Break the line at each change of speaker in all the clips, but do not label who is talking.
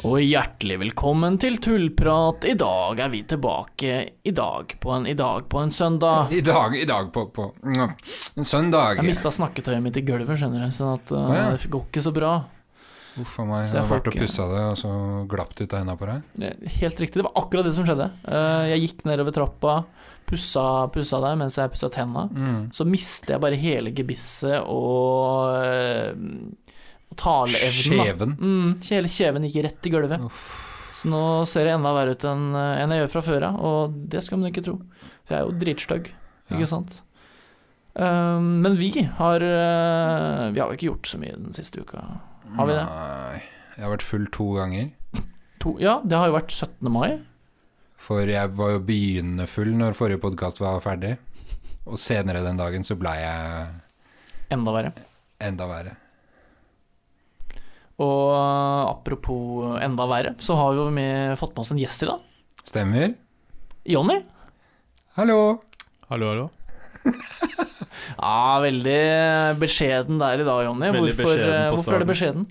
Og hjertelig velkommen til Tullprat. I dag er vi tilbake i dag på en, i dag på en søndag.
I dag, i dag på, på mm, en søndag.
Jeg mista snakketøyet mitt i gulvet, skjønner du, sånn at eh,
ja.
det går ikke så bra.
Uff a meg,
Så
jeg
jeg
har
får
vært og
ikke-
pussa det, og så glapp det ut av henda på deg.
Eh, Helt riktig, det var akkurat det som skjedde. Eh, Jeg gikk nedover trappa, pussa, pussa der mens jeg pussa tenna.
Mm.
Så mister jeg bare hele gebisset og, eh, og taleevnen. da.
Skjeven.
Mm, hele kjeven gikk rett i gulvet. Så nå ser jeg enda verre ut enn eh, enn jeg gjør fra før av, og det skal man ikke tro. For jeg er jo dritstygg,
Ja.
ikke sant. Um, men vi har eh, Vi har jo ikke gjort så mye den siste uka. Har vi det?
Nei. Jeg har vært full to ganger.
To, ja, det har jo vært 17. mai.
For jeg var jo begynnende full når forrige podkast var ferdig. Og senere den dagen så blei jeg
Enda verre.
enda verre.
Og eh, apropos enda verre, så har vi jo med, fått med oss en gjest i dag.
Stemmer?
Jonny.
Hallo!
Hallo, hallo.
Ja, veldig beskjeden der i dag, Jonny.
Veldig
Hvorfor,
beskjeden
eh,
på
hvorfor er det beskjeden?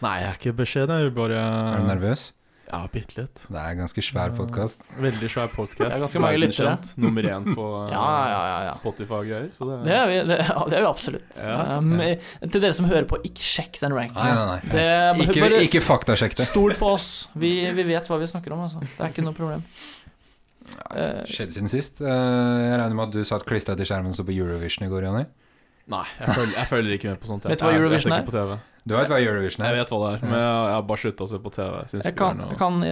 Nei, jeg er ikke beskjeden. Jeg er bare
Er du nervøs?
Ja, bitte litt.
Det er en ganske svær podkast.
Veldig svær podkast.
Det er ganske mange lyttere.
Nummer én på eh,
Ja, ja, ja. ja.
Spotify og greier. Så det,
Det er vi, det, ja, det er vi absolutt.
Ja.
Um, Til dere som hører på, ikke sjekk den ranken.
Nei, nei, nei.
Det,
Ikke,
bare
ikke faktasjekk det.
stol på oss. Vi, vi vet hva vi snakker om, altså. Det er ikke noe problem. Eh,
Skjedd siden sist. Eh, Jeg regner med at du satt klistra til skjermen og så på Eurovision i går, Jonny.
Nei, jeg følger, jeg følger ikke med på sånt. jeg.
Vet du hva
Jeg-
Eurovision
Jeg ser ikke på TV.
Du vet hva Eurovision
Jeg
er?
vet hva det er, men jeg jeg har bare slutta å se på TV. Jeg synes
jeg
ikke
kan,
det
jeg
er noe-
kan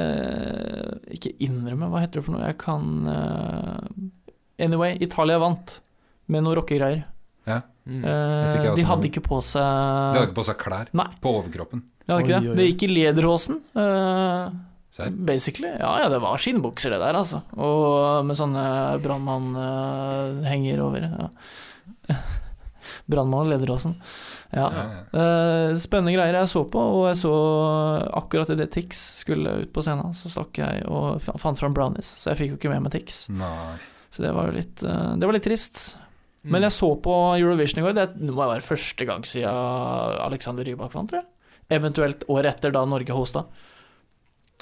eh, ikke innrømme, hva heter det for noe? Jeg kan eh, Anyway, Italia vant med noen rockegreier.
Mm.
fikk jeg
Uh,
også
de
med
hadde
meg.
ikke på
Du hadde
seg
ikke på seg klær.
Nei.
På overkroppen.
de hadde ikke
Oi, oi,
det.
oi.
Det gikk i lederhosen. eh,
Serr?
Basically. Ja, ja, det var skinnbukser, det der, altså. Og med sånne brannmannhenger over. Ja. Brannmann og Lederåsen. Ja.
Ja, ja.
Eh, spennende greier jeg så på, og jeg så akkurat idet Tix skulle ut på scenen, så stakk jeg og fa- fant fram brownies, så jeg fikk jo ikke med meg Tix.
Nei.
Så det var jo litt, eh, det var litt trist.
Mm.
Men jeg så på Eurovision i går, det må være første gang siden Alexander Rybak vant, tror jeg. Eventuelt året etter, da Norge hosta.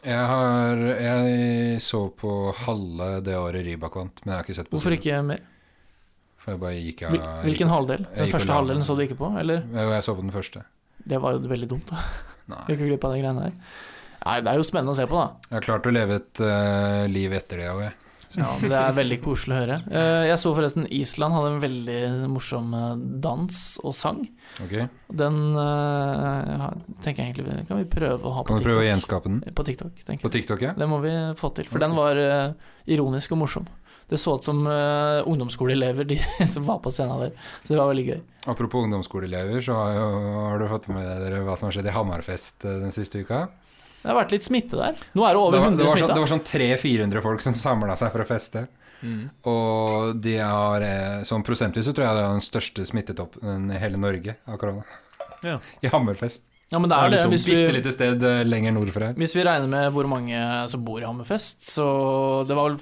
Jeg, har, jeg så på halve det året Rybak vant, men jeg har ikke sett på
Hvorfor
siden.
ikke mer?
For jeg bare gikk av
Hvil- Hvilken halvdel? Den
gikk på
første
lag.
halvdelen så du ikke på, eller?
Jo, Jeg så på den første.
Det var jo veldig dumt, da. Du
Nei.
gikk jo glipp av de greiene der. Nei, det er jo spennende å se på, da.
Jeg har klart å leve et eh, liv etter det òg, jeg.
Ja, det er veldig koselig å høre. Eh, Jeg så forresten Island hadde en veldig morsom eh, dans og sang.
Ok?
Den eh, har- tenker jeg egentlig vi- kan vi prøve å ha på
Kan du prøve å
TikTok.
gjenskape den?
På TikTok, tenker
På
jeg.
TikTok, ja?
Det må vi få til, for den var eh, ironisk og morsom. Det så ut som eh, ungdomsskoleelever de som var på scenen der, så det var veldig gøy.
Apropos ungdomsskoleelever, så har, jo, har du fått med dere hva som har skjedd i Hammerfest eh, den siste uka?
Det har vært litt smitte der. Nå er det over
det, var,
100
det, var sånn,
smitta.
det var sånn 300-400 folk som samla seg for å feste.
Mm.
Og de har eh, sånn prosentvis så tror jeg det er den største smittetoppen i hele Norge av korona.
Ja.
I Hammerfest.
Ja, men det er det.
litt
Hvis
Bitte
vi,
lite sted eh, lenger nord for her.
Hvis vi regner med hvor mange som bor i Hammerfest, så det var vel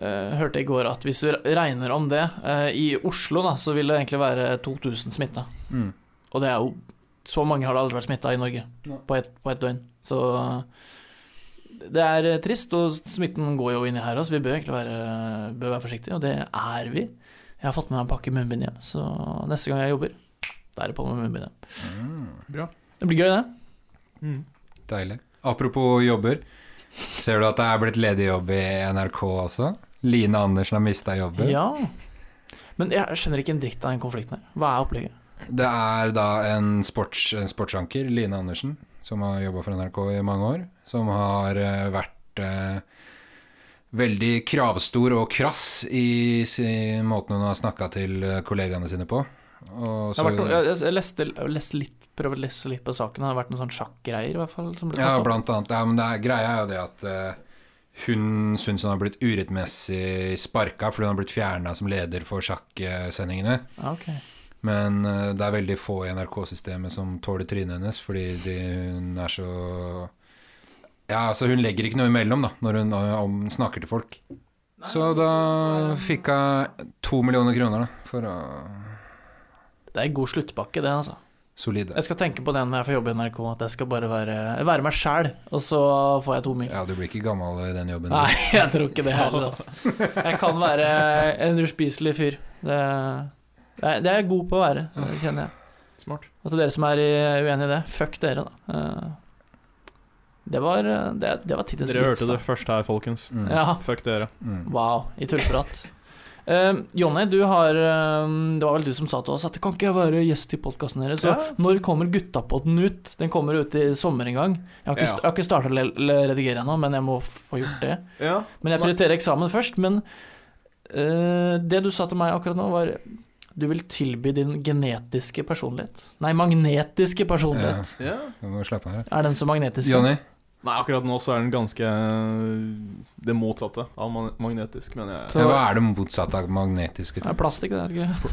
eh, Hørte jeg i går at hvis vi regner om det eh, i Oslo, da, så vil det egentlig være 2000 smitta.
Mm.
Og det er jo Så mange har det aldri vært smitta i Norge
Nei.
på ett et døgn. Så det er eh, trist, og smitten går jo inn i her også. Vi bør egentlig være, bør være forsiktige, og det er vi. Jeg har fått med meg en pakke munnbind hjem, så neste gang jeg jobber, da er det på med munnbindet.
Bra.
Det blir gøy, det.
Mm.
Mm. Deilig. Apropos jobber. Ser du at det er blitt ledig jobb i NRK også? Line Andersen har mista jobben.
Ja. Men jeg skjønner ikke en dritt av den konflikten her. Hva er opplegget?
Det er da en, sports, en sportsanker, Line Andersen, som har jobba for NRK i mange år, som har eh, vært eh, veldig kravstor og krass i sin, måten hun har snakka til eh, kollegaene sine på. Og
Det har
så,
vært, noe- jeg, jeg, leste, jeg leste litt, prøvde å lese litt på saken. Det har vært noen sånn sjakkgreier i hvert fall som ble
ja,
tatt opp.
blant annet. Ja, men det er, greia er jo det at eh, hun syns hun har blitt urettmessig sparka fordi hun har blitt fjerna som leder for sjakksendingene.
Ja, ok.
Men eh, det er veldig få i NRK-systemet som tåler trynet hennes, fordi de, hun er så Ja, altså, hun legger ikke noe imellom da, når hun eh, om, snakker til folk. Så da fikk hun to millioner kroner da, for å
Det er en god sluttpakke, det, altså.
Solide.
Jeg skal tenke på den når jeg får jobbe i NRK, at jeg skal bare være, være meg sjæl, og så får jeg to mil.
Ja, du blir ikke gammel i den jobben.
Nei, jeg tror ikke det heller, altså. Jeg kan være en uspiselig fyr. Det, det er det er jeg god på å være, det kjenner jeg.
Smart.
Og til Altså, dere som er i- uenig i det, fuck dere, da. Eh, Det var, eh, det, det var tidens
Dere
vits.
hørte
da.
det først her, folkens.
Mm.
Ja.
Fuck dere.
Mm.
Wow, i tullprat. Eh, Jonny, du har eh, Det var vel du som sa til oss at kan ikke jeg være gjest i podkasten deres? Så
Ja.
når kommer Guttapodden ut? Den kommer ut i sommer en gang. Jeg har ikke,
Ja.
jeg har ikke starta å le- le- redigere ennå, men jeg må få gjort det.
Ja.
Men jeg prioriterer eksamen først. Men eh, det du sa til meg akkurat nå, var du vil tilby din genetiske personlighet. Nei, magnetiske personlighet.
ja.
Du må slappe av her.
Er den så magnetisk?
Jonny,
Nei, akkurat nå så er den ganske øh, det motsatte av man- magnetisk, mener jeg.
Så-
hva er det motsatte av magnetiske?
Det er plastikk, det. er det ikke?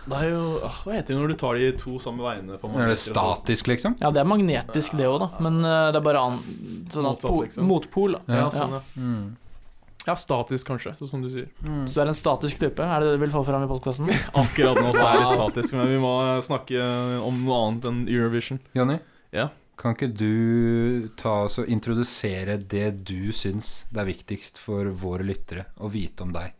Det er jo ah, Hva heter det når du tar de to samme veiene? på
Er det
magneter og sånn?
statisk, liksom?
Ja, det er magnetisk, det òg, da. Men eh, det er bare an, sånn at
Motsatt,
po
liksom.
motpol. Da.
Ja,
Ja.
sånn, ja.
Mm.
ja, statisk, kanskje, sånn som du sier.
Så du er en statisk type? Er det det du vil få fram i podkasten?
Akkurat nå så er det
Wow.
statisk, men vi må eh, snakke om noe annet enn Eurovision.
Jonny,
Ja.
kan ikke du ta oss og introdusere det du syns det er viktigst for våre lyttere å vite om deg?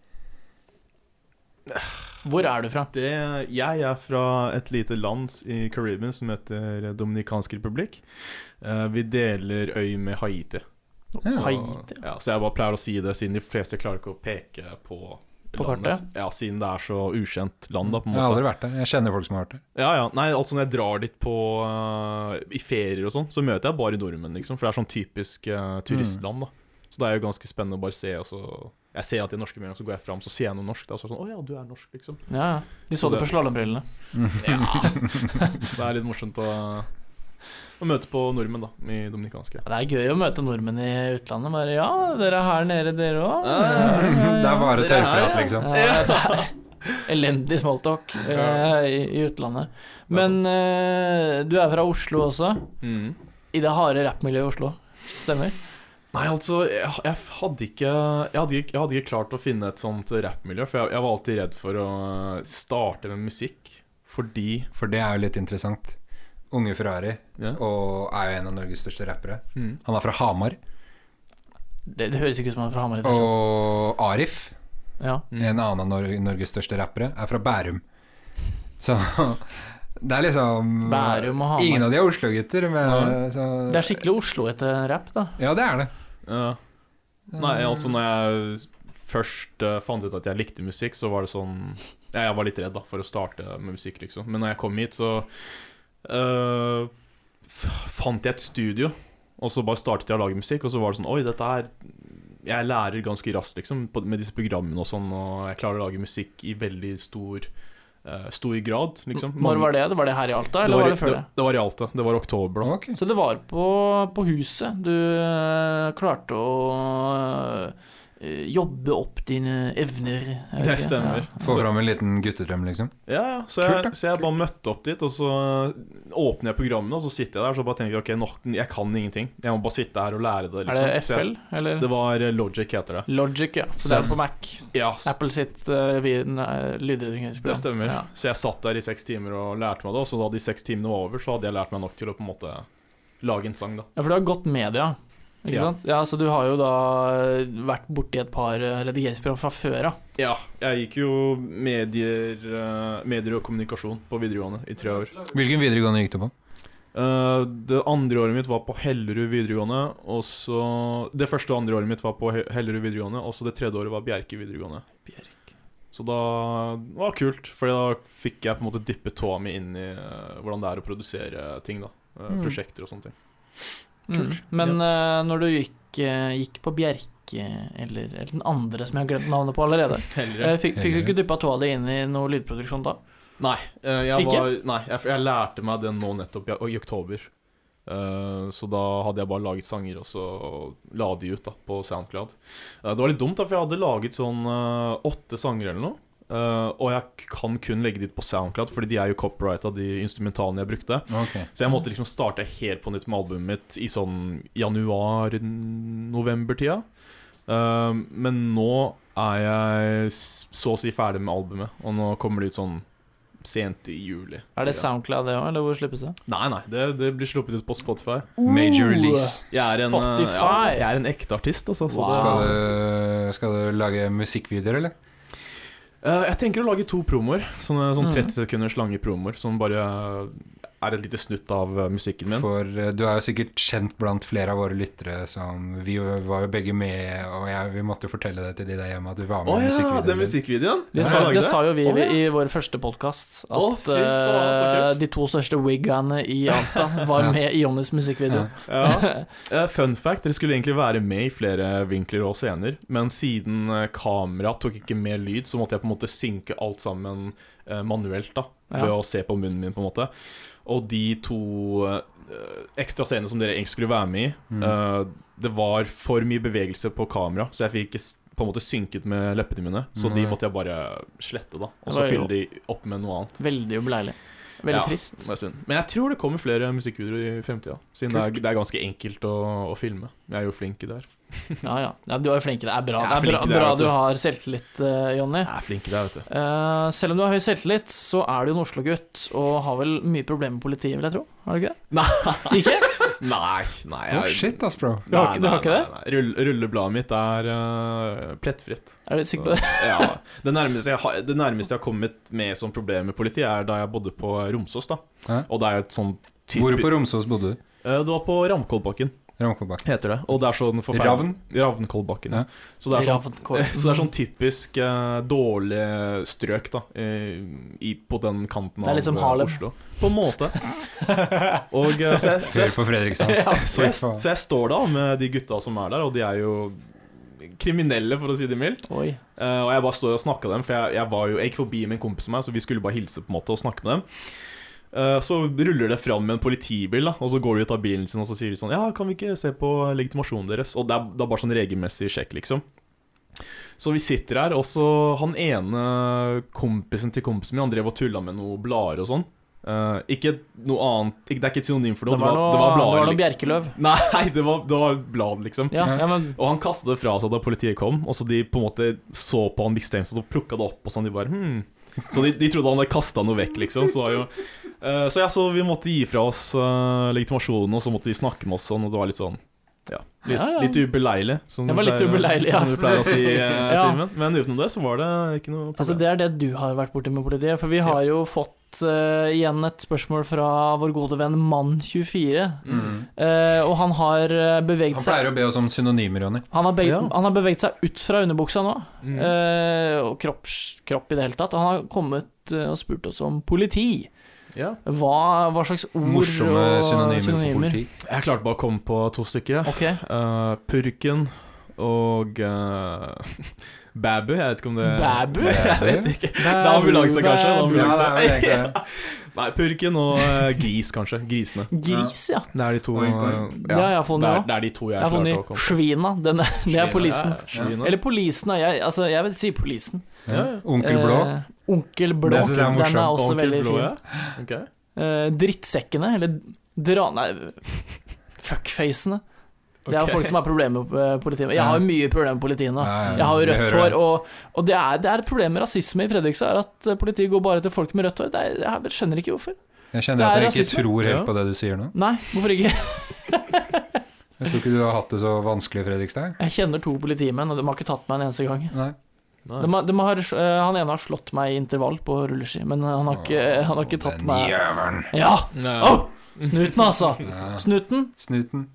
Hvor er du fra?
Det, jeg er fra et lite land i Karibien som heter Dominikansk republikk. Eh, Vi deler øy med Haiti.
Ja.
Haiti?
Ja, så jeg bare pleier å si det, siden de fleste klarer ikke å peke på
På
landet. Ja, Siden det er så ukjent land, da, på en
Jeg har
måte.
aldri vært der. Jeg kjenner folk som har vært der.
Ja, ja. Nei, altså når jeg drar dit på eh, i ferier og sånn, så møter jeg bare nordmenn, liksom. For det er sånn typisk eh, turistland, da. Så det er jo ganske spennende å bare se, og så Jeg ser at de er norske med en gang, så går jeg fram, så sier jeg noe norsk, da. Så er det sånn Å ja, du er norsk, liksom.
Ja, ja. De så
Så
det
det-
på slalåmbrillene.
Det er litt morsomt å, å møte på nordmenn, da, i dominikanske.
Det er gøy å møte nordmenn i utlandet. Bare ja, dere er her nede, dere òg.
Det er bare
Det er-
tørrprat, liksom.
Elendig smalltalk eh, i, i utlandet. Men eh, du er fra Oslo også?
Mm.
I det harde rappmiljøet i Oslo, stemmer?
Nei, altså, jeg, jeg hadde ikke jeg hadde, ikke- jeg hadde ikke klart å finne et sånt rappmiljø, for jeg, jeg var alltid redd for å starte med musikk, fordi
For det er jo litt interessant. Unge Ferrari
Ja.
og er jo en av Norges største rappere.
Mm.
Han er fra Hamar.
Det, det høres ikke ut som han er fra Hamar. i det hele
Og Arif,
tatt. Ja.
Mm.
en annen av Nor Norges største rappere, er fra Bærum. Så det er liksom
Bærum og Hamar.
Ingen av de er Oslo-gutter, men så,
Det er skikkelig Oslo-ete rapp, da.
Ja, det er det.
Ja. Nei, altså når jeg først eh, fant ut at jeg likte musikk, så var det sånn ja, Jeg var litt redd da, for å starte med musikk, liksom. Men når jeg kom hit, så eh, f fant jeg et studio, og så bare startet jeg å lage musikk, og så var det sånn Oi, dette her Jeg lærer ganske raskt, liksom, på, med disse programmene og sånn, og jeg klarer å lage musikk i veldig stor eh, Stor grad, liksom.
Når var det? det? Var det her i Alta, eller var det før det?
Det var i Alta. Det var i oktober, da.
Ok.
Så det var på, på huset du eh, klarte å eh, jobbe opp dine evner. jeg vet
Det
ikke.
stemmer.
Ja.
Få fram en liten guttedrøm, liksom.
Ja, ja. Så,
Kult,
jeg,
da.
så jeg bare møtte opp dit, og så eh, åpner jeg programmet, og så sitter jeg der og så bare tenker jeg, ok, nok, jeg kan ingenting. Jeg må bare sitte her og lære det. liksom.
Er det
Så jeg-
FL, eller?
Det var eh, Logic, heter det.
Logic, ja. Så det er på Mac.
Ja, s-
Apple sitt uh,
det stemmer.
Ja.
Så jeg satt der i seks timer og lærte meg det, og så da de seks timene var over, så hadde jeg lært meg nok til å på en måte lage en sang, da.
ja, for du har gått media, ikke
Ja.
sant? Ja, så du har jo da eh, vært borti et par eh, redigeringsprogram fra før av.
Ja, jeg gikk jo medier, eh, medier og kommunikasjon på videregående i tre år.
Hvilken videregående gikk du på?
Eh, det andre året mitt var på Hellerud videregående. Og så Det første og andre året mitt var på He- Hellerud videregående, og så det tredje året var Bjerke videregående.
Bjerke.
Så da det var kult, for da fikk jeg på en måte dyppe tåa mi inn i eh, hvordan det er å produsere ting. da Eh,
Mm.
Prosjekter og sånne ting.
Mm. Men eh, når du gikk, eh, gikk på Bjerke, eller, eller den andre som jeg har glemt navnet på allerede,
Hellerud.
eh, fikk, fikk du ikke dyppa tåa di inn i noe lydproduksjon da?
Nei, eh, jeg
Ikke?
var, nei jeg, jeg lærte meg det nå nettopp, i, i oktober. Eh, så da hadde jeg bare laget sanger, og så la de ut da, på Soundcloud. Eh, det var litt dumt, da, for jeg hadde laget sånn eh, åtte sanger eller noe. eh, og jeg k- kan kun legge de ut på Soundcloud, fordi de er jo copyrighta, de instrumentalene jeg brukte.
Ok.
Så jeg måtte liksom starte helt på nytt med albumet mitt i sånn januar-november-tida. Eh, men nå er jeg s- så å si ferdig med albumet, og nå kommer det ut sånn sent i juli.
Er det SoundCloud det òg, eller hvor slippes det?
Nei, nei, det, det blir sluppet ut på Spotify.
Major release.
Jeg er en, eh, Ja,
Spotify!
jeg er en ekte artist, altså. Så
Wow.
det,
Skal du, skal du lage musikkvideoer, eller?
Eh, jeg tenker å lage to promoer. Sånne, sånn
Mhm.
30 sekunders lange promoer som bare er et lite snutt av eh, musikken min.
For eh, du er jo sikkert kjent blant flere av våre lyttere som Vi jo var jo begge med, og jeg, vi måtte jo fortelle det til de der hjemme at du var
Å
med i
ja, den
musikkvideoen. din.
musikkvideoen!
Det
Skal
sa,
jeg lage
det sa jo vi
Å, ja.
i vår første podkast, at
Å, fy faen, så
eh,
kult.
de to største wiggaene i Alta var
Ja.
med i Jonnys musikkvideo.
Ja. Eh, Fun fact, dere skulle egentlig være med i flere vinkler og scener, men siden eh, kamera tok ikke med lyd, så måtte jeg på en måte synke alt sammen eh, manuelt, da, ved
Ja.
å se på munnen min, på en måte. Og de to eh, ekstra scenene som dere egentlig skulle være med i,
Mm.
Mm.
eh, det var for mye bevegelse på kamera, så jeg fikk ikke s- på en måte synket med leppene mine, så de
Nei.
måtte jeg bare slette, da, og
Det
så
var jo-
fylle de opp med noe annet.
Veldig ubeleilig. Veldig
Ja.
trist.
Det er synd. Men jeg tror det kommer flere musikkvideoer i fremtida. Siden det er, det er ganske enkelt å, å filme. Jeg er jo flink i det her.
Ja, ja. ja du er jo flink. Det er bra,
Jeg
det er bra,
er flink i det,
bra
vet
du
du.
har selvtillit, eh, Jonny.
Jeg er flink i det, vet du.
Eh, selv om du har høy selvtillit, så er du jo en Oslo-gutt og har vel mye problemer med politiet, vil jeg tro. Har du ikke det?
Nei.
Ikke?
Nei, nei.
Å, shit, ass, bro.
Du har ikke- du har ikke
det? Rull, rullebladet mitt er eh, plettfritt.
Er du sikker på det?
ja. Det nærmeste, jeg har, det nærmeste jeg har kommet med sånn problem med politiet, er da jeg bodde på Romsås. da
Hæ?
Og det er jo et sånn typ-
Hvor på Romsås bodde du?
Eh, Det var på Ramkollbakken,
Ramkollbakken.
heter det. Og det er sånn
Ravn?
Ravnkollbakken.
Ja.
Ja. Så det er sånn
Ravnkår.
Så det er sånn typisk eh, dårlig strøk, da, eh, i, på den kanten
Det er
av
litt som
eh,
Harlem.
Oslo. På en måte. Og eh, så jeg, så
Hører
jeg,
på Fredrikstad.
ja, så jeg, så jeg står da med de gutta som er der, og de er jo kriminelle, for å si det mildt.
Oi.
Eh, og jeg bare står og snakker med dem, for jeg, jeg, var jo, jeg gikk forbi med en kompis av meg, så vi skulle bare hilse på en måte og snakke med dem. Eh, så ruller det fram en politibil, da, og så går de ut av bilen sin og så sier de sånn Ja, kan vi ikke se på legitimasjonen deres? Og det er, det er bare sånn regelmessig sjekk, liksom. Så vi sitter her, og så han ene kompisen til kompisen min, han drev og tulla med noe blader og sånn. Eh, ikke noe annet ikke, Det er ikke et synonym for
Det
noe.
var noe, det
blader,
var noe
liksom.
bjerkeløv.
Nei, det var, det var blad, liksom.
Ja, ja, men
Og han kastet det fra seg da politiet kom, og så de på en måte så på han mistenksomt og plukka det opp. Og sånn, de bare, hmm. Så de, de trodde han hadde kasta noe vekk, liksom. Så, var jo, Eh, så, ja, så vi måtte gi fra oss eh, legitimasjonen, og så måtte de snakke med oss sånn, og det var litt sånn ja, litt,
Ja, ja.
litt ubeleilig. Som
Det var
du
litt
pleier-
ubeleilig, ja.
Som du pleier å si, eh,
Ja.
Simen. Men utenom det så var det ikke noe problem.
Altså, det er det du har vært borti med politiet. For vi har jo fått eh, igjen et spørsmål fra vår gode venn Mann24.
Mm.
og han har eh, beveget
Han
seg
pleier å be oss om synonymer, Jonny.
han har, beveget,
Ja.
han har beveget seg ut fra underbuksa nå,
Mm.
eh, og kropps, kropp i det hele tatt. Og han har kommet eh, og spurt oss om politi.
ja.
Hva, hva slags ord
Morsomme
og
synonymer, på politi.
Jeg klarte bare å komme på to stykker. Ja.
Ok,
Eh, purken og uh, Babu. Jeg vet ikke om det
Babu?
Jeg vet ikke. Det er ambulanse, kanskje. Det
Babu.
Ja, det
er ambulanse.
er vel egentlig det.
Nei, purken og eh, gris, kanskje. Grisene.
Gris, ja.
Det er de to
Oink, oink.
eh,
Det har jeg funnet
det,
òg.
er, det er de to jeg,
Jeg har
klarte å
funnet
komme på.
svina. Den er, det er polisen.
Svina.
Eller polisen, er jeg, altså, jeg vil si polisen.
Ja. Onkel Blå.
Eh, onkel Blå.
Den synes jeg er morsom.
Den er også
Onkel
veldig
Blå,
fin.
ja. Ok.
Eh, drittsekkene, eller dra... Nei, fuckfacene. Det er
Ok.
jo folk som har problemer med eh, politiet. Jeg har jo mye problemer med politiet nå.
Ja, ja,
Jeg har jo
vi
rødt
hører
hår,
det.
og, og det, er, det er et problem med rasisme i Fredrikstad. er At eh, politiet går bare til folk med rødt hår. Det er, jeg skjønner ikke hvorfor.
Jeg
Det
kjenner at
er
jeg ikke
rasisme.
tror
Ja.
helt på det du sier nå.
Nei, hvorfor ikke?
Jeg tror ikke du har hatt det så vanskelig, Fredrikstad.
Jeg kjenner to politimenn, og de har ikke tatt meg en eneste gang.
Nei.
Nei.
De har, de har, eh, han ene har slått meg i intervall på rulleski, men han har ikke, han har ikke tatt
Den
meg
Jævelen.
Ja!
Nei, ja.
Au! snuten, altså.
Ja.
Snuten,
Snuten.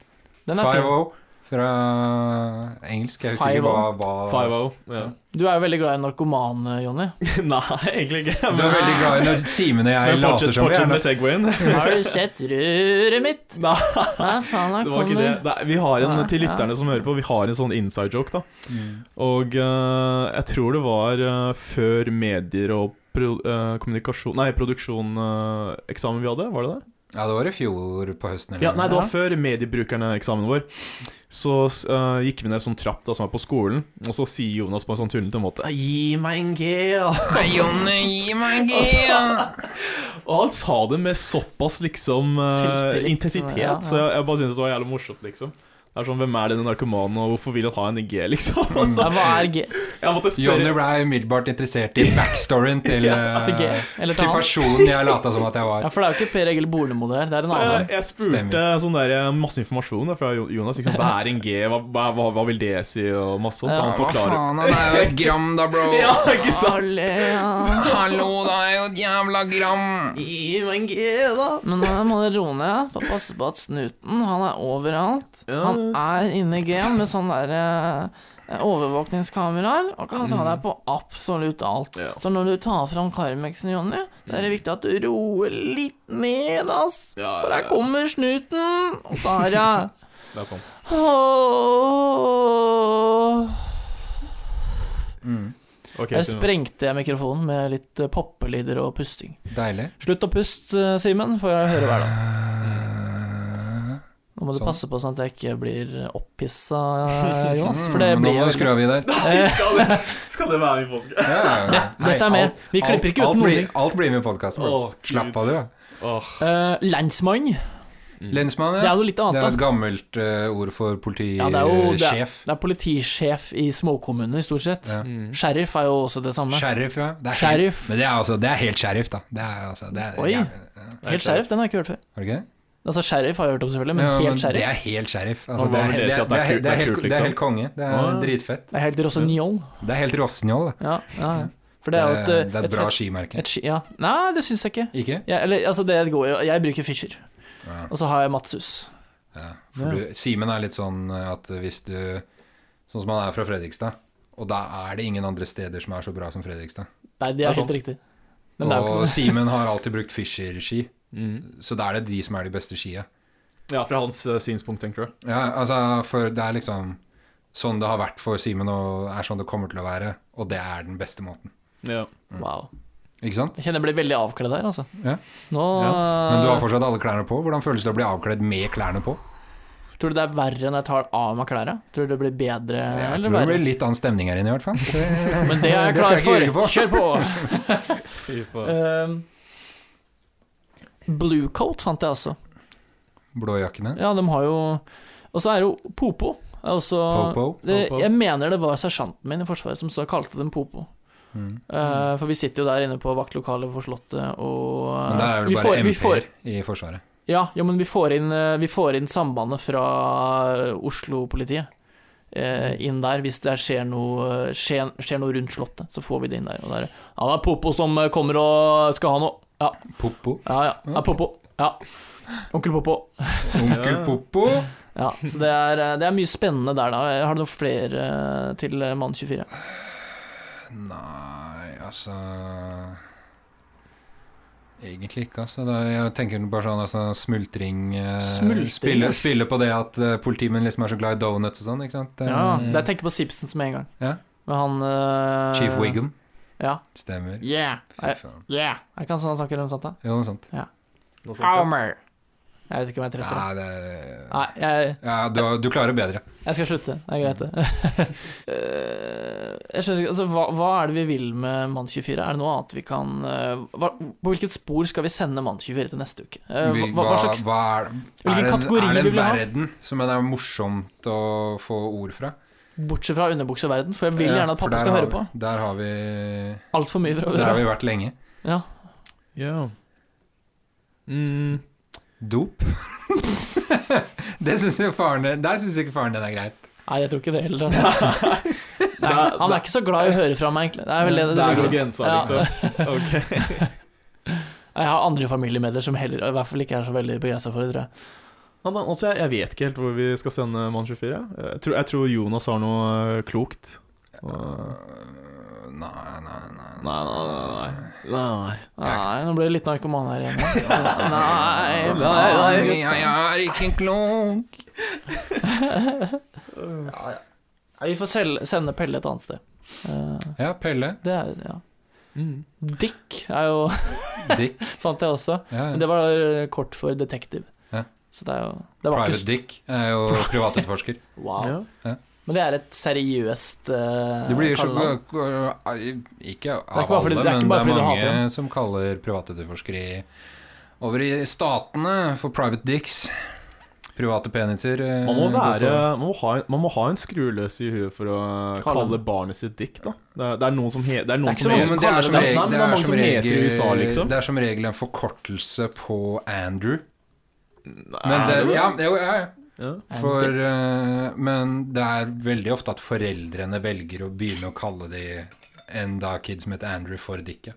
den er fin.
5-0 fra engelsk. Jeg husker
5-0.
ikke hva, hva
Five O. Ja.
Du er jo veldig glad i narkoman, eh, Jonny.
Nei, egentlig ikke.
Du er veldig glad i når Simen og jeg
Men
later
fortsett,
som vi er
fortsett med
nødt
Segwayen.
Har du sett røret mitt?
Nei,
Nei, faen, her
det var
kommer
ikke det.
det.
det er, vi har en
Nei,
til
ja.
lytterne som hører på, vi har en sånn inside joke, da. Og eh, jeg tror det var eh, før medier og pro, eh, kommunikasjon Nei, produksjoneksamen vi hadde, var det det?
Ja, det var i fjor på høsten.
Ja, nei, det var
Ja.
før mediebrukerne-eksamen vår. Så eh, gikk vi ned sånn trapp da, som er på skolen, og så sier Jonas på en sånn tullete måte Gi meg en G! da!»
Jonny, gi meg en G!
Og han sa det med såpass liksom eh,
Selvtillit,
intensitet,
ja, ja.
så jeg, jeg bare syntes det var jævlig morsomt, liksom. Det er sånn, Hvem er denne narkomanen, og hvorfor vil han ha en G, liksom? Og
Ja,
så,
hva er G?
jeg måtte
Johnny
spørre
ble umiddelbart interessert i backstoryen til,
Til G?
eh,
Eller
til
til han?
personen jeg lata som at jeg
Ja,
var.
for det er jo ikke Per Egil Bornemo der, det er en
så jeg,
annen.
jeg spurte
Stemmer.
sånn der, eh, masse informasjon da, fra Jo- Jonas. Liksom, hva er en G, hva, hva, hva, hva vil det si, og masse sånt.
Ja.
Han
Hva
forklarer.
faen, han er jo et gram da, bro.
Ja, ikke sant?
Alea.
Hallo, det er jo et jævla gram.
Gi meg en G, da.
Men nå må dere roe ned. Får passe på at snuten, han er overalt.
Ja.
Han er inne i game med sånne der, eh, overvåkningskameraer og kan ta deg på absolutt alt.
Ja.
Så når du tar fram Carmexen, Jonny, så er det viktig at du roer litt ned, ass.
Ja,
For
ja,
der
ja.
kommer snuten og tar deg.
Det er sånn. sant.
Åh.
Mm,
Ok,
Der
Simon.
sprengte jeg mikrofonen med litt eh, poppelyder og pusting.
deilig.
Slutt å puste, eh, Simen, får jeg høre hver dag.
Eh,
Nå må du
Sånn.
passe på sånn at jeg ikke blir opphissa, Jonas. For det
mm,
blir
Nå
jeg
må du skru
veldig.
av i der.
Nei, skal det, skal det være i påske?
Ja, ja, ja.
Det- dette er med.
alt-
Vi klipper ikke ut
alt, alt
noen
blir,
ting.
alt blir med i podkasten vår.
Å, Gud.
Slapp av, du. da.
Åh,
Eh, Landsmann,
Lensmann,
Mm. det
ja.
er jo litt
Det er
annet,
et
da.
gammelt eh, ord for
Ja, det er jo
eh,
det er,
politisjef.
det er politisjef i småkommuner, stort sett.
Ja.
Mm.
Sheriff er jo også det samme.
Sheriff, ja. Det er
Mm. Sheriff.
Helt, men det er, altså, det er helt sheriff, da. Det er, altså, det er,
Oi.
Ja,
Helt sheriff, den har jeg ikke hørt før.
har du ikke det?
Altså Sheriff har jeg hørt om, selvfølgelig, men
Ja,
helt
Det
sheriff.
er helt sheriff.
Og
Altså, det,
hva
er,
vil
helt-
det si at
det, er,
det er
helt-
kult-
det, er
det er
helt,
kult,
det er
liksom?
helt konge. Det er
Ja.
dritfett.
Det er helt Rossignol.
Det er helt Rossignol, det.
Ja, ja, ja. For det
Det
er
er,
jo et,
det
eh,
er et, bra
fett-
skimerke.
et ski- ja. Nei, det syns jeg ikke.
Ikke?
Jeg, eller, altså, det går jo Jeg bruker Fischer.
Ja.
Og så har jeg Matsus.
Ja. For du, Simen er litt sånn at hvis du Sånn som han er fra Fredrikstad, og da er det ingen andre steder som er så bra som Fredrikstad.
Nei, det
Det er
er helt
sant.
riktig. Men det er jo ikke
Og
noe
Simen har alltid brukt Fischer-ski,
Mm.
så da er det de som er de beste skia.
Ja, fra hans eh, synspunkt, tenker du.
Ja, altså, for det er liksom sånn det har vært for Simen, og er sånn det kommer til å være, og det er den beste måten.
Ja.
Wow.
Ikke sant?
Jeg kjenner jeg blir veldig avkledd her, altså.
mm. Ja.
Nå
Men du har fortsatt alle klærne på. Hvordan føles det å bli avkledd med klærne på?
Tror du det er verre når jeg tar av meg klærne? Tror du det blir bedre
Jeg
eller
tror det
verre?
blir litt annen stemning her inne, i hvert fall. Det-
Men det er jeg
Det skal
klar
jeg ikke
for. Kjør på!
Fy faen.
Um, Blue Coat fant jeg også.
Blåjakkene.
Ja, de har jo Og så er det jo Popo. Er også,
Popo.
Det,
Popo.
jeg mener det var sersjanten min i Forsvaret som så kalte dem Popo.
Mm.
Uh, for vi sitter jo der inne på vaktlokalet på Slottet og uh,
Men der er det
vi
bare
får- vi får-
MP-er i Forsvaret.
Ja, ja men vi får inn, eh, vi får inn sambandet fra eh, Oslo-politiet eh, inn der. Hvis det skjer noe, eh, skjer, skjer noe rundt Slottet, så får vi det inn der. Og der ja, det er Popo som eh, kommer og skal ha noe. Ja,
Popo.
ja, ja. Det er Popo. Ja. Onkel Popo.
Onkel Popo.
Ja, så det er, eh, det er mye spennende der, da. Har du noen flere eh, til eh, Mann 24?
Nei, altså Egentlig ikke, altså. Da, jeg tenker bare sånn altså, smultring, eh,
Smultring?
Spille, spille på det at eh, politimenn liksom er så glad i donuts og sånn, ikke sant? Eh,
Ja, det jeg tenker på Simpsons med en gang.
Ja.
Med han eh,
Chief Wiggum.
Ja.
Stemmer.
Yeah.
Fy
Er
faen.
yeah. Er ikke han sånn han snakker om sånt, da?
Jo, noe sånt.
Noe sånt,
Homer. Jeg vet ikke om jeg treffer.
Nei, det
det. Nei, jeg
ja, du, du klarer bedre.
Jeg skal slutte, det er greit det. Eh, jeg skjønner ikke, altså hva, hva er det vi vil med Mann 24? Er det noe annet vi kan eh, hva, På hvilket spor skal vi sende Mann 24 til neste uke? Eh,
Vi-
hva, hva slags
hva er, er,
hvilken
det en-
kategori
er det
vi
en
vil ha?
verden som det er morsomt å få ord fra?
Bortsett fra underbukseverden, for jeg vil
Ja,
gjerne at
for
pappa
der
skal
har
høre
vi-
på.
Der har vi
Altfor mye fra
Der har
øra.
vi vært lenge.
Ja.
Ja. Mm.
Dop. det syns jo faren din Der syns ikke faren din er greit.
Nei, jeg tror ikke det heller. Altså. Nei,
Det er-
han er ikke så glad i å høre fra meg, egentlig. Det er vel det det
Der
ligger
går
i.
grensa,
Ja.
liksom. Ok.
Jeg har andre familiemedlemmer som heller i hvert fall ikke er så veldig begeistra for det, tror jeg.
Ja, da, altså, jeg, jeg vet ikke helt hvor vi skal sende Mann 24. ja. Jeg tror, jeg tror Jonas har noe eh, klokt. Og-
Øh, nei, nei, nei.
Nei, nei, nei. nei. nei.
Nei, nå ble det litt narkoman her igjen. Nei,
Nei,
faen.
nei.
jeg er ikke klok.
Nei, Vi får selge, sende Pelle et annet sted. Eh,
Ja, Pelle.
Det er ja.
Mm.
Dick er jo
Dick.
Fant jeg også.
Ja,
Men det var eh, kort for detektiv.
Ja.
Så det er jo det var ikke,
Private Dick er jo privatutforsker.
s- Wow.
Ja.
Men det er et seriøst uh,
Du blir så Ikke
bare
av alle,
fordi- det er ikke
men det
bare
er
fordi du
mange
hater dem.
som kaller privatutforskere i over i statene for private dicks. Private peniser. eh,
Man må, være,
godt å-
man, må ha, en- man må ha en skruløs i huet for å
Kalle
kalle barnet sitt dikt, da. Det er, det er noen som, he, det er noen
ikke så
som
mange
Jo,
heter-
men det er som
Nei,
regel-
men
det
det er
er
mange
som
som heter i USA,
regel-
liksom.
det er som regel en forkortelse på Andrew. Men
Nei,
det, ja, jo, ja, ja.
ja.
For, eh, men det er veldig ofte at foreldrene velger å begynne å kalle de en da kid som heter Andrew, for Dikke.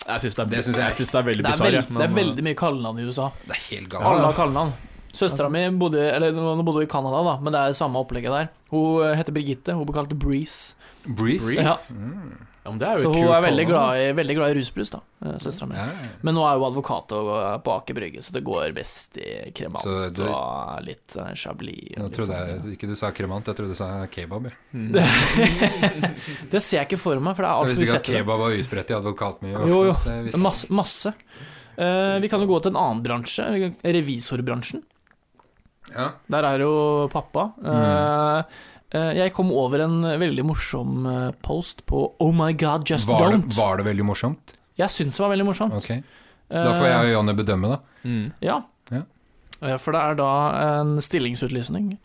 Jeg syns det, er-
Det synes jeg-
jeg synes det er veldig
Det er,
bisarr.
veld,
jeg,
det
men,
er veldig mye kallenavn i USA.
Det er helt
Alle
galt.
har kallenavn. Søstera mi bodde Eller nå bodde hun i Canada, da, men det er samme opplegget der. Hun eh, heter Birgitte. Hun blir kalt Breeze.
Breeze.
Breeze?
Ja.
Mm.
Ja, men det er jo
Så
et
hun
kult
er veldig
kallenavn.
glad i, veldig glad i rusbrus, da, søstera mi.
Ja.
Men nå er hun advokat og eh, på Aker Brygge, så det går best i kremant
Så du-
og litt eh, chablis.
Nå
Og litt
trodde
sånt,
jeg ikke du sa kremant, jeg trodde du sa kebab. jeg.
Mm.
det, det ser jeg ikke for meg, for det er
Jeg
altfor
visste
mye
ikke at
fett. i det.
kebab var utbredt i advokatmiljøet. i
Jo, jo.
Akershus, det visste jeg.
Masse. masse. Eh, vi kan jo gå til en annen bransje, revisorbransjen.
Ja.
Der er jo pappa.
Mm.
Eh, eh, jeg kom over en veldig morsom eh, post på Oh my god, just
Var,
don't.
det, var det veldig morsomt?
Jeg syns det var veldig morsomt.
Ok. Da
Eh.
får jeg og Jonny bedømme, da.
Mm.
Ja.
Ja.
Eh, For det er da en stillingsutlysning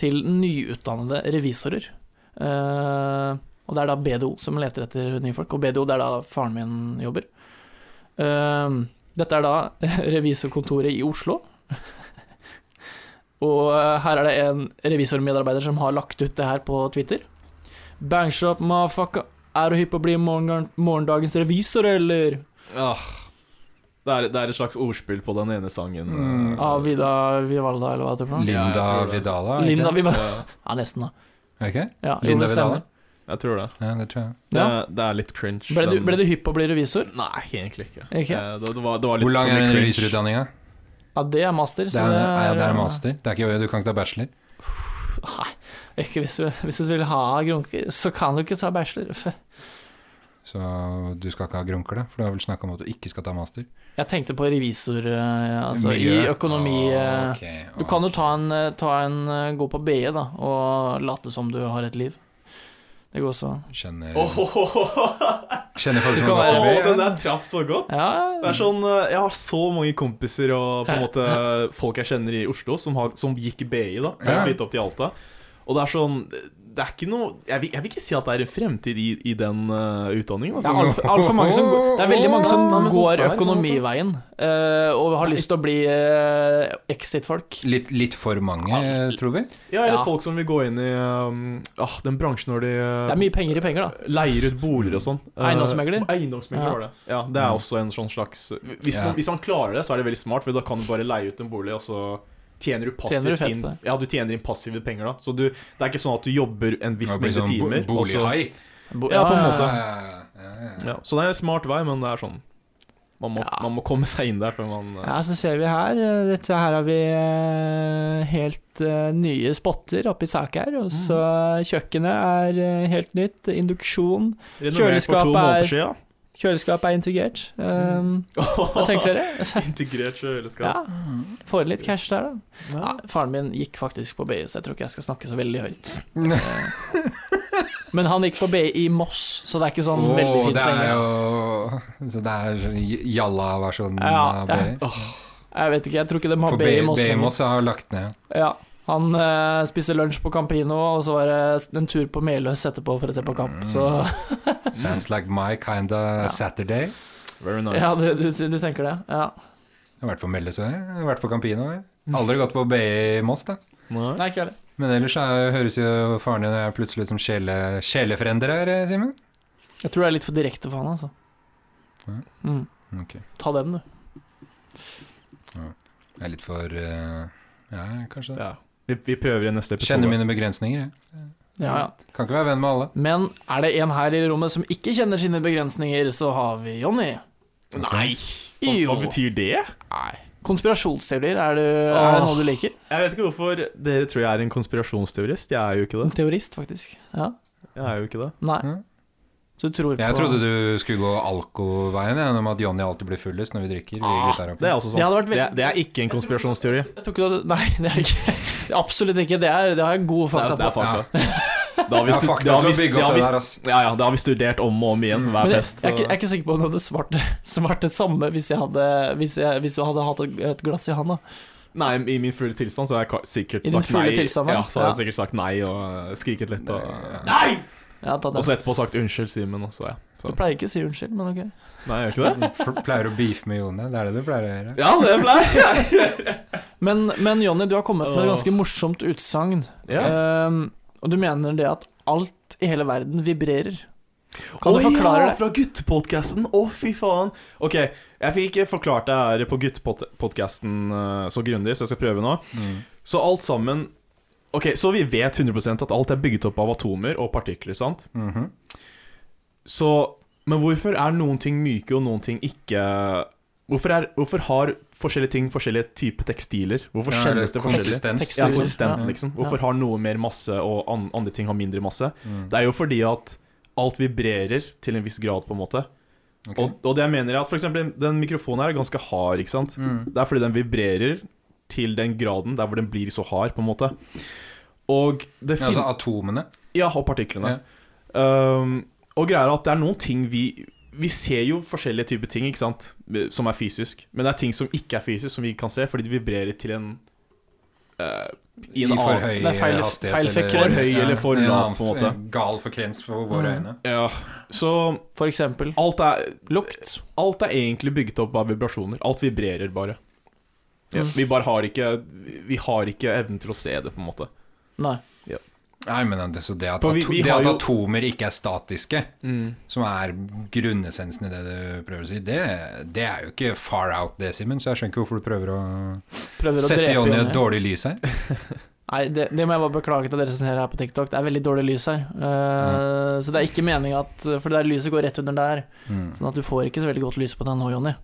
til nyutdannede revisorer. Eh, og det er da BDO som leter etter nye folk, og BDO det er da faren min jobber. Eh, dette er da revisorkontoret i Oslo. og eh, her er det en revisormedarbeider som har lagt ut det her på Twitter. Bangshop, motherfucker. Er du hypp på å bli morgen morgendagens revisor, eller?
Ah. Det, er, det er et slags ordspill på den ene sangen.
Mm.
eh,
Av Vida Vivalda, eller hva det er for noe?
Ja, jeg
Linda
tror det.
Vidala, er det
Linda
ikke
Vivalda.
ja,
Ja, nesten, da.
det? Er det ikke det?
Ja, jo,
Linda
det stemmer.
Vidala?
jeg tror det.
Ja, det tror jeg.
Det,
Ja.
det er litt cringe.
Ble du,
den-
ble du hypp på å bli revisor?
Nei, egentlig ikke.
Ikke?
Eh, Det, det var, det var litt
Hvor lang
for
er
mye
den
cringe.
revisorutdanninga?
Ja, det er master.
Det
Så
er,
det
ja, det er master. Det er ikke, du kan ikke ta bachelor.
Nei, ikke hvis du, hvis du vil ha grunker, så kan du ikke ta bachelor. F-
Så du skal ikke ha grunker, da? For du har vel snakka om at du ikke skal ta master?
Jeg tenkte på revisor, eh, altså i økonomi. eh, Du kan jo ta en, eh, ta en eh, gå på BE, da, og late som du har et liv. Det går også an.
Kjenner,
Åh,
kjenner folk
Du
som
kan
har
være-
gått
den
på
der traff så godt. Det
Ja,
er sånn, eh, Jeg har så mange kompiser og på en måte folk jeg kjenner i Oslo som, har, som gikk i BI. da Som
Ja.
flyttet opp til Alta Og det er sånn Det er ikke noe Jeg vil, jeg vil ikke si at det er en fremtid i, i den eh, utdanningen.
det er
Altså.
alt, alt for mange som går, det er veldig mange som
Ja, men sånn
går
sær, på en måte.
økonomiveien eh, og har lyst til å bli eh, exit-folk.
BE? Litt, litt for mange, eh, tror vi.
Ja, Eller
Ja.
folk som vil gå inn i um, ah, den bransjen når de
Det er mye penger i penger, da.
Leier ut boliger og sånn. Eh,
Mm. Eiendomsmegler?
Eiendomsmegler
Ja.
var det. Ja, det er også en sånn slags hvis,
Ja.
man, hvis han klarer det, så er det veldig smart, for da kan du bare leie ut en bolig, og så tjener
Tjener du
du passivt
fett
inn
på det.
Ja, du tjener inn passive penger, da. Så du, det er ikke sånn at du jobber en viss
Det blir
mengde
sånn
timer.
bo-
og så-
Bolighai.
Bo-
Ja, på en måte.
Ja, ja, ja, ja.
ja, så det er en smart vei, men det er sånn Man må,
Ja.
man må komme seg inn der før man eh,
Ja, så ser vi her. eh, Dette her har vi eh, helt eh, nye spotter oppi sak her. Og så kjøkkenet er eh, helt nytt. Induksjon.
Renovert for to
Kjøleskapet
måneder
er-
siden.
Kjøleskapet er integrert. Um, Hva tenker dere?
Integrert kjøleskap.
Ja, Får litt cash der, da.
Ja.
Ja, faren min gikk faktisk på BI, så jeg tror ikke jeg skal snakke så veldig høyt. Eh, Men han gikk på BI i Moss, så det er ikke sånn
Åh,
veldig fint
det er
lenger.
jo Så det er jalla-versjonen
Ja,
av
ja.
BI.
Jeg vet ikke, jeg tror ikke de har
For
BI i
BI
Moss
BI
lenger.
Moss har lagt ned.
Ja, han eh, spiste lunsj på Campino, og så var det en tur på Meløs etterpå for å se på kamp. Så
Sounds like my kinda
Ja.
Saturday.
Very nice.
ja, du, du, du tenker det. Ja.
Jeg har vært på Mellesøy, jeg har vært på Campino. Jeg. Aldri gått på BI Moss, da.
Nei.
Nei, ikke heller.
Men ellers er, høres jo faren din og jeg plutselig ut som sjele, sjelefrender her, eh, Simen.
Jeg tror det er litt for direkte for han, altså.
Ja.
Mm.
Ok.
Ta den, du.
Jeg er litt for eh, Ja, kanskje det.
Ja. Vi, vi prøver i neste episode.
Kjenner mine begrensninger, jeg.
Ja, ja.
Kan ikke være venn med alle.
Men er det en her i rommet som ikke kjenner sine begrensninger, så har vi Jonny.
Nei! Hva,
Jo.
hva betyr det?
Konspirasjonsteorier, er, du, er det
Åh.
noe du liker?
Jeg vet ikke hvorfor dere tror jeg er en konspirasjonsteorist. Jeg er jo ikke
En
det.
teorist, faktisk. Ja.
Jeg er jo ikke det.
Nei.
Mm.
Så du tror på
Jeg trodde du skulle gå alkoveien jeg, om at Johnny alltid blir fullest når vi drikker. Vi
Ah,
gutter oppe.
Det er også sant.
Det hadde vært
det,
veldig-
det er ikke en konspirasjonsteori.
Jeg tror ikke du hadde Nei, det er det ikke. Absolutt ikke. Det, er, det har jeg gode
Det
fakta
er, det
på.
er fakta. Det har vi,
Ja,
stu-
fakta
det har
til å
vi,
bygge
det
opp
har
det
vi,
der, Mm. ass.
ja, ja, det har vi studert om og om igjen hver
Men jeg,
fest.
jeg, er ikke,
så-
jeg er ikke sikker på om du hadde svart det, svart det samme hvis, jeg hadde, hvis, jeg, hvis du hadde hatt et glass i handa.
Nei, i min fulle tilstand så har jeg ka- sikkert
I din
sagt
fulle
nei.
tilstand,
ja,
ja.
så har jeg
Ja.
sikkert sagt nei og eh, skriket litt. Og,
Nei! Ja, ta
og
den.
så etterpå sagt unnskyld, Simen. Og så, ja.
Du
så.
pleier ikke å si unnskyld, men ok.
Nei, jeg gjør ikke det?
Du pleier å beefe med Jone. Det er det du pleier å
Mm.
gjøre.
Ja, det ble jeg.
Men, men Jonny, du har kommet med et
Åh.
ganske morsomt utsagn.
Ja.
Ehm, og du mener det at alt i hele verden vibrerer. Kan
Å
du forklare
ja, fra guttepodkasten. Å, fy faen. Ok, jeg fikk ikke forklart det her på guttepodkasten eh, så grundig, så jeg skal prøve nå.
Mm.
Så alt sammen Ok, så vi vet 100 at alt er bygget opp av atomer og partikler, sant?
Mhm.
Så Men hvorfor er noen ting myke og noen ting ikke Hvorfor, er, hvorfor har forskjellige ting forskjellige typer tekstiler? Hvorfor
Ja, eller
kjennes det forskjellig?
konsistens.
Tekst-
Ja,
Tekstur.
konsistent,
Ja.
liksom. Hvorfor har noe mer masse, og an andre ting har mindre masse?
Mm.
Det er jo fordi at alt vibrerer til en viss grad, på en måte.
Ok.
Og, og det jeg mener er at for eksempel den mikrofonen her er ganske hard, ikke sant?
Mm.
Det er fordi den vibrerer til den graden der hvor den blir så hard, på en måte. Og det
Ja,
fin-
altså atomene.
Ja, og partiklene. Um, og greia er at det er noen ting vi Vi ser jo forskjellige typer ting, ikke sant, som er fysisk. Men det er ting som ikke er fysisk, som vi kan se, fordi de vibrerer til en eh, I
I
en
for
annen
høy
Det er feil-
hastighet.
feil
eller-
frekvens.
For høy eller for
Ja, en
lav,
annen
på en måte.
f- Gal frekvens for våre
Mm.
øyne.
Ja. Så
For eksempel
alt er
lukt.
Alt er egentlig bygget opp av vibrasjoner. Alt vibrerer bare. Ja,
Mm.
vi bare har ikke Vi har ikke evnen til å se det, på en måte.
Nei.
Nei, men det, så det at,
For vi-
ato-
vi
det
har
at
jo-
atomer ikke er statiske,
Mm.
som er grunnessensen i det du prøver å si, det, det er jo ikke far out det, Simen, så jeg skjønner ikke hvorfor du prøver å
Prøver å
sette
drepe
Jonny i
Jonny.
et dårlig lys her.
Nei, det, det må jeg bare beklage til dere som ser her på TikTok. Det er veldig dårlig lys her. Eh, Så det er ikke meninga at For det der lyset går rett under der.
Mm.
Sånn at du får ikke så veldig godt lys på deg nå, Jonny.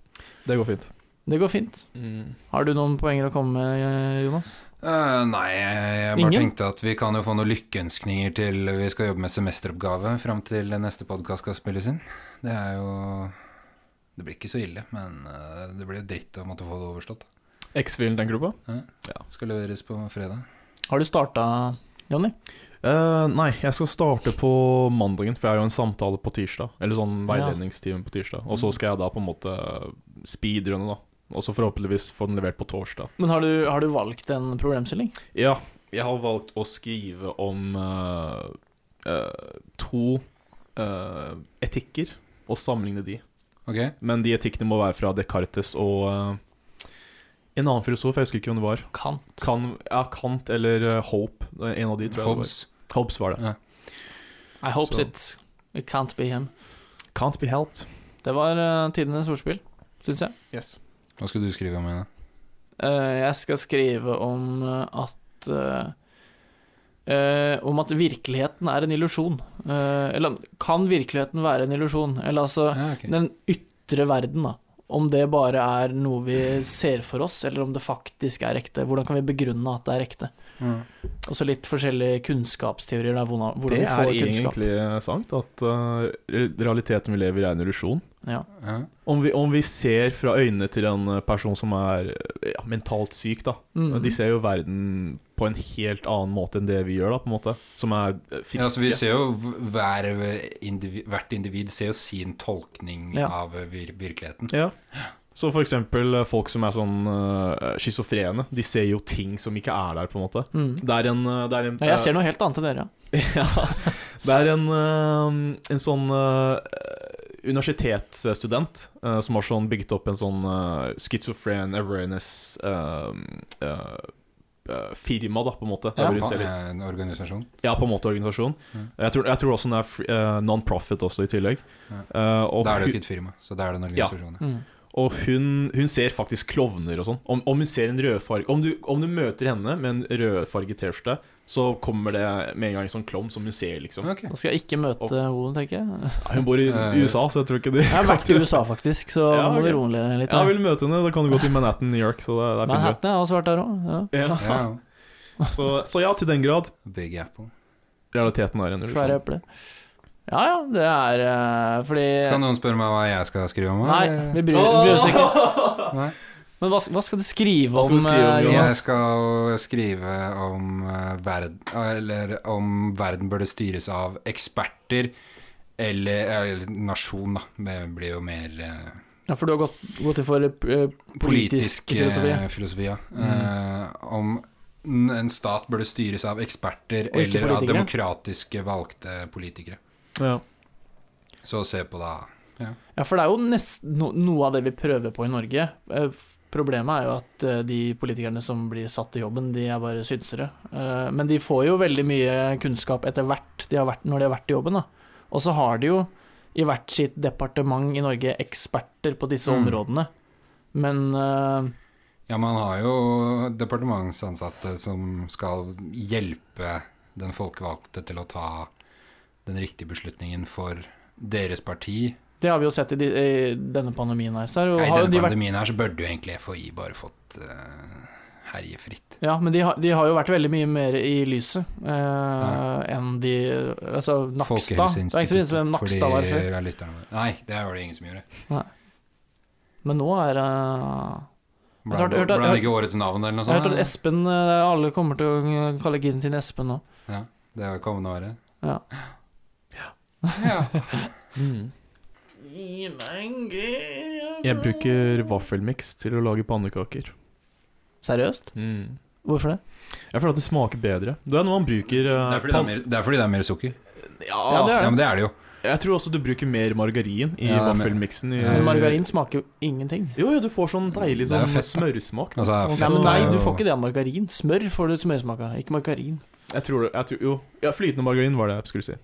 Det går fint.
Det går fint.
Mm.
Har du noen poenger å komme med, Jonas?
Eh, nei, jeg bare
Ingen?
tenkte at vi kan jo få noen lykkeønskninger til vi skal jobbe med semesteroppgave fram til neste podkast skal spilles inn. Det er jo Det blir ikke så ille, men eh, det blir jo dritt å måtte få det overstått.
X-Film, den gruppa?
Skal leveres på fredag.
Har du starta, Jonny?
Eh, nei, jeg skal starte på mandagen, for jeg har jo en samtale på tirsdag. Eller sånn
Ja.
veiledningstime på tirsdag. Og så skal jeg da på en måte speedrunne, da. Og så forhåpentligvis få den levert på torsdag.
Men har du, har du valgt en problemstilling?
Ja, jeg har valgt å skrive om eh, eh, to eh, etikker, og sammenligne de.
Ok?
Men de etikkene må være fra Descartes og eh, en annen filosof, jeg husker ikke hvem det var.
Kan.
Kan, ja, Kant eller eh, Hope. En av de, tror jeg.
Hobbes.
Det var. Hobbes var det.
I hope
Så.
it. It can't be him.
Can't be helped.
Det var eh, tidenes ordspill, syns jeg.
Yes.
Hva skal du skrive om igjen? da?
Eh, jeg skal skrive om eh, at eh, eh, Om at virkeligheten er en illusjon. Eh, eller kan virkeligheten være en illusjon? Eller altså
Ja, ok.
den ytre verden, da. Om det bare er noe vi ser for oss, eller om det faktisk er ekte. Hvordan kan vi begrunne at det er ekte?
Mm.
Og så litt forskjellige kunnskapsteorier. Da, hvordan hvordan
Det
vi
er
får kunnskap.
egentlig sant, at eh, realiteten vi lever i er en illusjon.
Ja.
Ja.
Om vi, om vi ser fra øynene til en eh, person som er eh, ja, mentalt syk, da.
Mm.
De ser jo verden på en helt annen måte enn det vi gjør, da, på en måte. Som er eh, fikske.
Ja, altså vi ser jo v- hver individ, hvert individ ser jo sin tolkning
Ja.
av eh, vir virkeligheten.
Ja. Så for eksempel eh, folk som er sånn uh, schizofrene, de ser jo ting som ikke er der, på en måte.
Mm.
Det er en, eh, det er en
Ja, jeg ser noe helt annet enn dere, ja.
ja, Det er en, eh, en sånn eh, universitetsstudent eh, som har sånn bygget opp en sånn uh, schizofren awareness eh, eh, eh, firma, da, på en måte.
Ja.
Ja,
Ba- eh, En organisasjon.
ja på en måte organisasjon. Jeg, tror, jeg tror også den er fri- eh, non-profit også, i tillegg. Eh, og
Da er det
hu-
jo ikke et firma, så da er det en
Ja.
organisasjon.
Mm.
Og hun, hun ser faktisk klovner og sånn. Om, om hun ser en rødfarge om, du- om du møter henne med en rødfarget T-skjorte, så kommer det med en gang en sånn klovn som hun ser, liksom.
Ja.
Ja,
Ok.
Da skal jeg ikke møte hoen, tenker jeg.
Hun bor i
Eh,
USA, så jeg tror ikke det
Jeg har vært i USA, faktisk, så
Ja,
nå må
ok.
du roe ned litt.
Ja, jeg
her.
vil møte henne. Da kan du gå til Manhattan, New York. Så det, det er fint.
Manhattan jeg har også vært der òg. Ja.
Ja.
Ja.
Så, så ja, til den grad.
Big Apple.
Realiteten er en
Svære
illusjon.
eple. Ja ja, det er eh, fordi
Skal noen spørre meg hva jeg skal skrive om?
Nei,
eller?
vi bryr, bryr oss ikke.
Nei.
Men hva, hva skal du skrive
Hva skal
om,
du skrive om,
eh,
Jonas?
Jeg
Jonas?
skal skrive om eh, verden Eller om verden burde styres av eksperter eller, eller nasjon, da. Det blir jo mer eh,
Ja, for du har gått, gått inn for eh, politisk,
politisk eh,
filosofi. Mm.
filosofi. Ja. Eh, om n- en stat burde styres av eksperter
Og ikke
eller av
politikere.
demokratiske valgte politikere.
Ja.
Så se på da
Ja, for det er jo nest, no, noe av det vi prøver på i Norge. Eh, f- Problemet er jo at eh, de politikerne som blir satt i jobben, de er bare synsere. Eh, Men de får jo veldig mye kunnskap etter hvert de har vært, når de har vært i jobben. Da. Og så har de jo i hvert sitt departement i Norge eksperter på disse
Mm.
områdene. Men eh,
Ja, man har jo departementsansatte som skal hjelpe den folkevalgte til å ta den riktige beslutningen for deres parti.
det har vi jo sett i, de, i denne pandemien her. Så er jo,
Nei, I
har jo
denne
de vært
pandemien her så burde jo egentlig FHI bare fått eh, herje fritt.
Ja, men de har, de har jo vært veldig mye mer i lyset eh, enn de Altså, Nakstad. Det er ikke så visst hvem Nakstad var før.
er lytterne våre. Nei, det var det ingen som gjorde.
Men nå er eh, Jeg har
Ble
hørt- hørt at-
ble det ikke årets navn eller noe
Jeg
Altså,
har
sånt?
hørt at
eller?
Espen eh, Alle kommer til å kalle kiden sin Espen nå.
Ja, det er jo kommende året.
Ja.
Ja.
Mm.
Jeg bruker vaffelmiks til å lage pannekaker.
Seriøst?
Mm.
Hvorfor det?
Jeg føler at det smaker bedre. Det er noe man bruker
Det
eh,
er, fordi det, er mer, det er fordi det er mer sukker.
Ja, det
Ja,
er det.
men det er det jo.
Jeg tror også du bruker mer margarin i
Ja, det er mer-
vaffelmiksen. i-
Ja, men
Margarin smaker jo ingenting.
Jo, jo, du får sånn deilig
Det er
sånn
jo fett, da.
smørsmak.
Altså,
Og
Nei,
fett
men
er
nei,
jo-
du får ikke det av margarin. Smør får du smørsmak av, ikke margarin.
Jeg tror, det- jeg tror, jo, ja, flytende margarin var det jeg skulle si.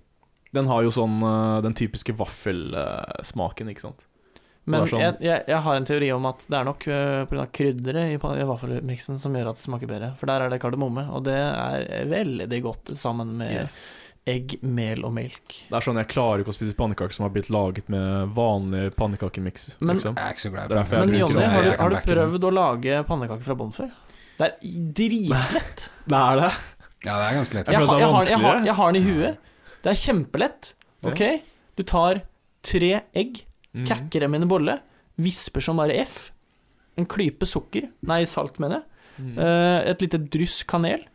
Den har jo sånn eh, den typiske vaffelsmaken, ikke sant.
Men
Det er sånn-
jeg, jeg, jeg har en teori om at det er nok eh, på grunn av krydderet i, pa- i vaffelmiksen som gjør at det smaker bedre. For der er det kardemomme, og det er veldig godt sammen med
Yes.
egg, mel og melk.
Det er sånn jeg klarer ikke å spise pannekaker som har blitt laget med vanlig pannekakemiks.
Men-
Liksom.
Jeg er ikke så glad i
Det er derfor jeg
Men
bruker
Jonny,
sånn-
har, du-
jeg
har du prøvd å lage pannekaker fra bånn før? Det er dritlett.
Det er det.
Ja, det er ganske lett.
Jeg,
føler
har-
det er
jeg, har- jeg, har-
vanskeligere.
jeg har den i huet. Det er kjempelett. Ok? Du tar tre egg,
Mm.
kakker dem inn i en bolle, visper som bare F. En klype sukker, nei, salt, mener jeg.
Mm.
Eh, Et lite dryss kanel.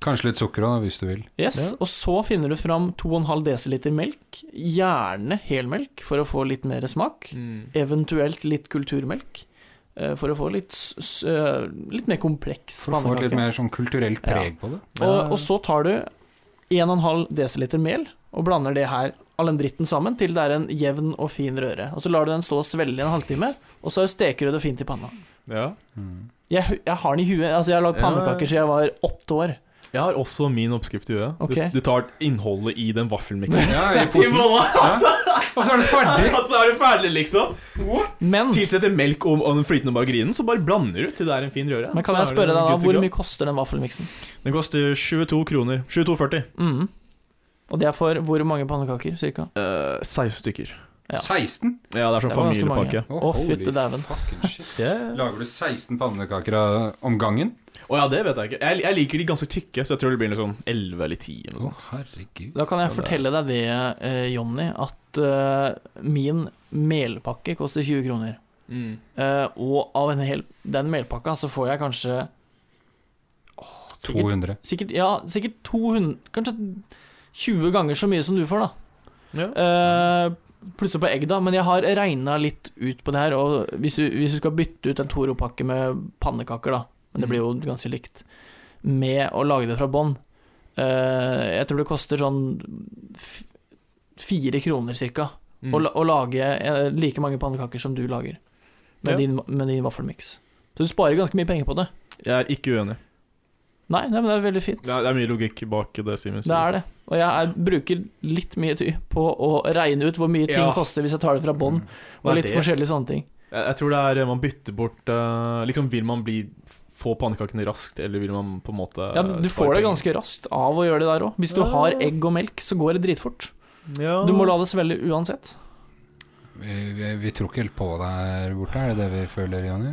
Kanskje litt sukker òg, hvis du vil.
Yes,
Ja.
Og så finner du fram 2,5 dl melk, gjerne helmelk for å få litt mer smak.
Mm.
Eventuelt litt kulturmelk, eh, for å få litt, s s eh, litt mer kompleks
For å få et litt mer sånn kulturelt
Ja.
preg på det.
Og, og så tar du 1,5 dl mel og blander det her, all den dritten sammen, til det er en jevn og fin røre. Og så lar du den stå og svelle i en halvtime, og så steker du det fint i panna.
Ja.
Mm.
Jeg, hu- jeg har den i huet. Altså, jeg har lagd
Ja.
pannekaker siden jeg var åtte år.
Jeg har også min oppskrift i huet.
Ok.
Du, du tar innholdet i den vaffelmiksen.
Ja, i posen.
altså.
Ja. Og så er det ferdig! Mm.
Og så altså. er du ferdig, liksom.
Men,
Tilsetter melk og, og den flytende margarinen, så bare blander du til det er en fin røre.
men kan
Så
jeg
er det
spørre deg da,
good to
hvor
go.
mye koster den vaffelmiksen?
Den koster 22 kroner. 22,40.
Mhm. Og det er for hvor mange pannekaker, cirka?
Eh, 16 stykker.
Ja.
16?
Ja, det er sånn
Det var ganske
familiepakke.
Å, fytte dæven.
fucking shit.
Yeah.
Lager du 16 pannekaker av- om gangen?
Å ja, det vet jeg ikke. Jeg, jeg liker de ganske tykke, så jeg tror det blir liksom 11 eller 10 eller noe
Å,
sånt.
herregud.
Da kan jeg
Ja, det er-
fortelle deg det, eh, Jonny, at eh, min melpakke koster 20 kroner.
Mm.
Eh, og av en hel, den melpakka så får jeg kanskje åh, sikkert,
200.
sikkert, ja, sikkert 200 Kanskje 20 ganger så mye som du får, da.
Ja.
Eh, Plusser på egg, da. Men jeg har regna litt ut på det her. Og hvis du, hvis du skal bytte ut en Toro-pakke med pannekaker, da Men det blir jo
Mm.
ganske likt. Med å lage det fra bånn. Eh, jeg tror det koster sånn f fire kroner cirka
Mm.
å, la- å lage eh, like mange pannekaker som du lager med,
Ja.
din, med din vaffelmiks. Så du sparer ganske mye penger på det.
Mm. Jeg er ikke uenig.
Nei, nei men det er veldig fint.
Det er, det er mye logikk bak det, Simen.
Det er det. Og jeg er, bruker litt mye tid på å regne ut hvor mye ting
Ja. Mm.
koster hvis jeg tar det fra bånn,
Mm.
Hva
og
er
litt
det?
forskjellige sånne ting.
Jeg, jeg tror det er eh, Man bytter bort eh, Liksom, vil man bli få pannekakene raskt, eller vil man på en måte
Ja, du
spare
får det
penger?
ganske raskt av å gjøre det der òg. Hvis du
Ja.
har egg og melk, så går det dritfort.
ja.
Du må la det svelle uansett.
Vi, vi, vi tror ikke helt på deg her borte, er det det vi føler, Jonny?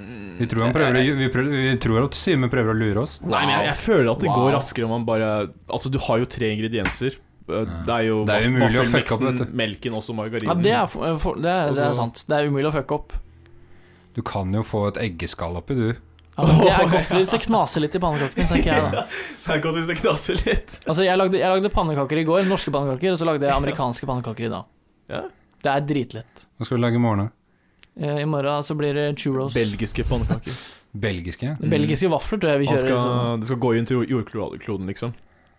Mm.
Vi tror, han prøver, å- vi prøver, vi tror at Simen prøver å lure oss.
Nei, men jeg, jeg føler at det
Wow.
går raskere om man bare Altså, du har jo tre ingredienser. Eh, Det er jo,
Det er jo
vaf-
umulig å fucke opp, vet
vaffelmiksen,
du.
melken også margarinen.
Ja, det er, for, for, det er, det
mm. Og
er
så-
sant. Det er umulig å fucke opp.
Du kan jo få et eggeskall oppi, du.
Ja, men det er godt hvis det knaser litt i pannekakene, tenker jeg da.
Det er godt hvis det knaser litt.
Altså, jeg lagde, jeg lagde pannekaker i går, norske pannekaker, og så lagde jeg amerikanske pannekaker i dag.
Ja.
Det er dritlett.
Hva skal vi lage i morgen? da?
Eh, I morgen så blir det churros.
Belgiske pannekaker.
Belgiske.
Mm.
Belgiske vafler tror jeg vi
Han
kjører.
skal,
sånn.
det skal gå inn til jordkloden, liksom.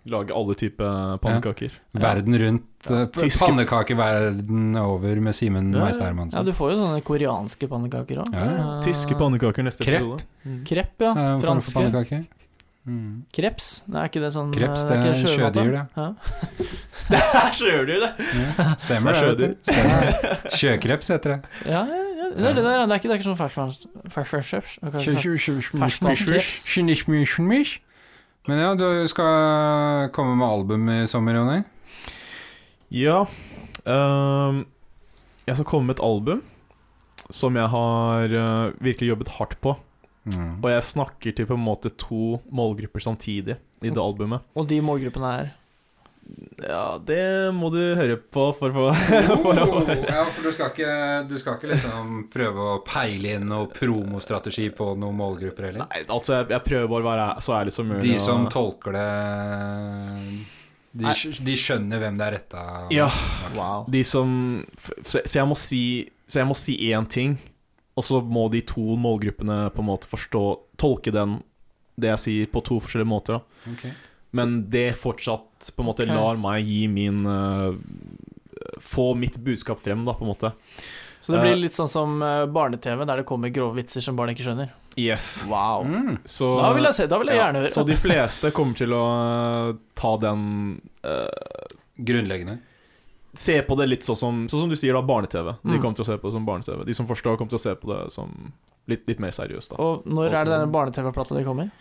Lage alle typer pannekaker.
Verden rundt. eh,
Tyske-
Pannekaker verden over med Simen
Ja, ja.
Meister
Ja,
Hermansen.
du får jo sånne koreanske pannekaker òg.
Ja, ja.
Tyske pannekaker neste
Krepp.
episode.
Krepp, ja.
Det er jo en form for
Franske.
pannekaker. Mm.
Kreps. Det er ikke det sånn
Kreps,
eh,
det
ikke
er
sjømat, da?
sjødyr, det.
Ja.
Der skjører du det!
Ja, stemmer
Det
det.
er
vet du. Stemmer. Sjøkreps heter det.
Ja, ja, ja. Det er det der. ja. Det er ikke, det er ikke sånn ferskvannsreps.
sånn
Ferskvannskreps.
Men ja, du skal komme med album i sommer, Jonny.
Ja ehm, Jeg skal komme med et album som jeg har eh, virkelig jobbet hardt på.
Mm.
Og jeg snakker til på en måte to målgrupper samtidig i det albumet.
Og de målgruppene er
Ja, det må du høre på for å få for å høre.
Oh. ja, for du skal, ikke, du skal ikke liksom prøve å peile inn noe promostrategi på noen målgrupper heller?
Nei, altså, jeg, jeg prøver bare å være så ærlig som mulig.
De
og-
som tolker det De, skj- de skjønner hvem det er retta
Ja.
Wow.
De som f- f- Så jeg må si Så jeg må si én ting, og så må de to målgruppene på en måte forstå Tolke den, det jeg sier, på to forskjellige måter. da
Ok.
Men det fortsatt på en måte
Ok.
lar meg gi min eh, Få mitt budskap frem, da, på en måte.
Så det blir litt sånn som eh, barne-TV, der det kommer grove vitser som barn ikke skjønner.
Yes.
Wow.
Mm.
Så,
Da vil jeg se, da vil jeg
ja,
gjerne høre.
Så de fleste kommer til å eh, ta den eh,
Grunnleggende.
Se på det litt sånn som Sånn som du sier, da, barne-TV. De
Mm.
kommer til å se på det som barne-TV. De som forstår, kommer til å se på det som litt, litt mer seriøst, da.
Og når er det denne barne-TV-plata de kommer?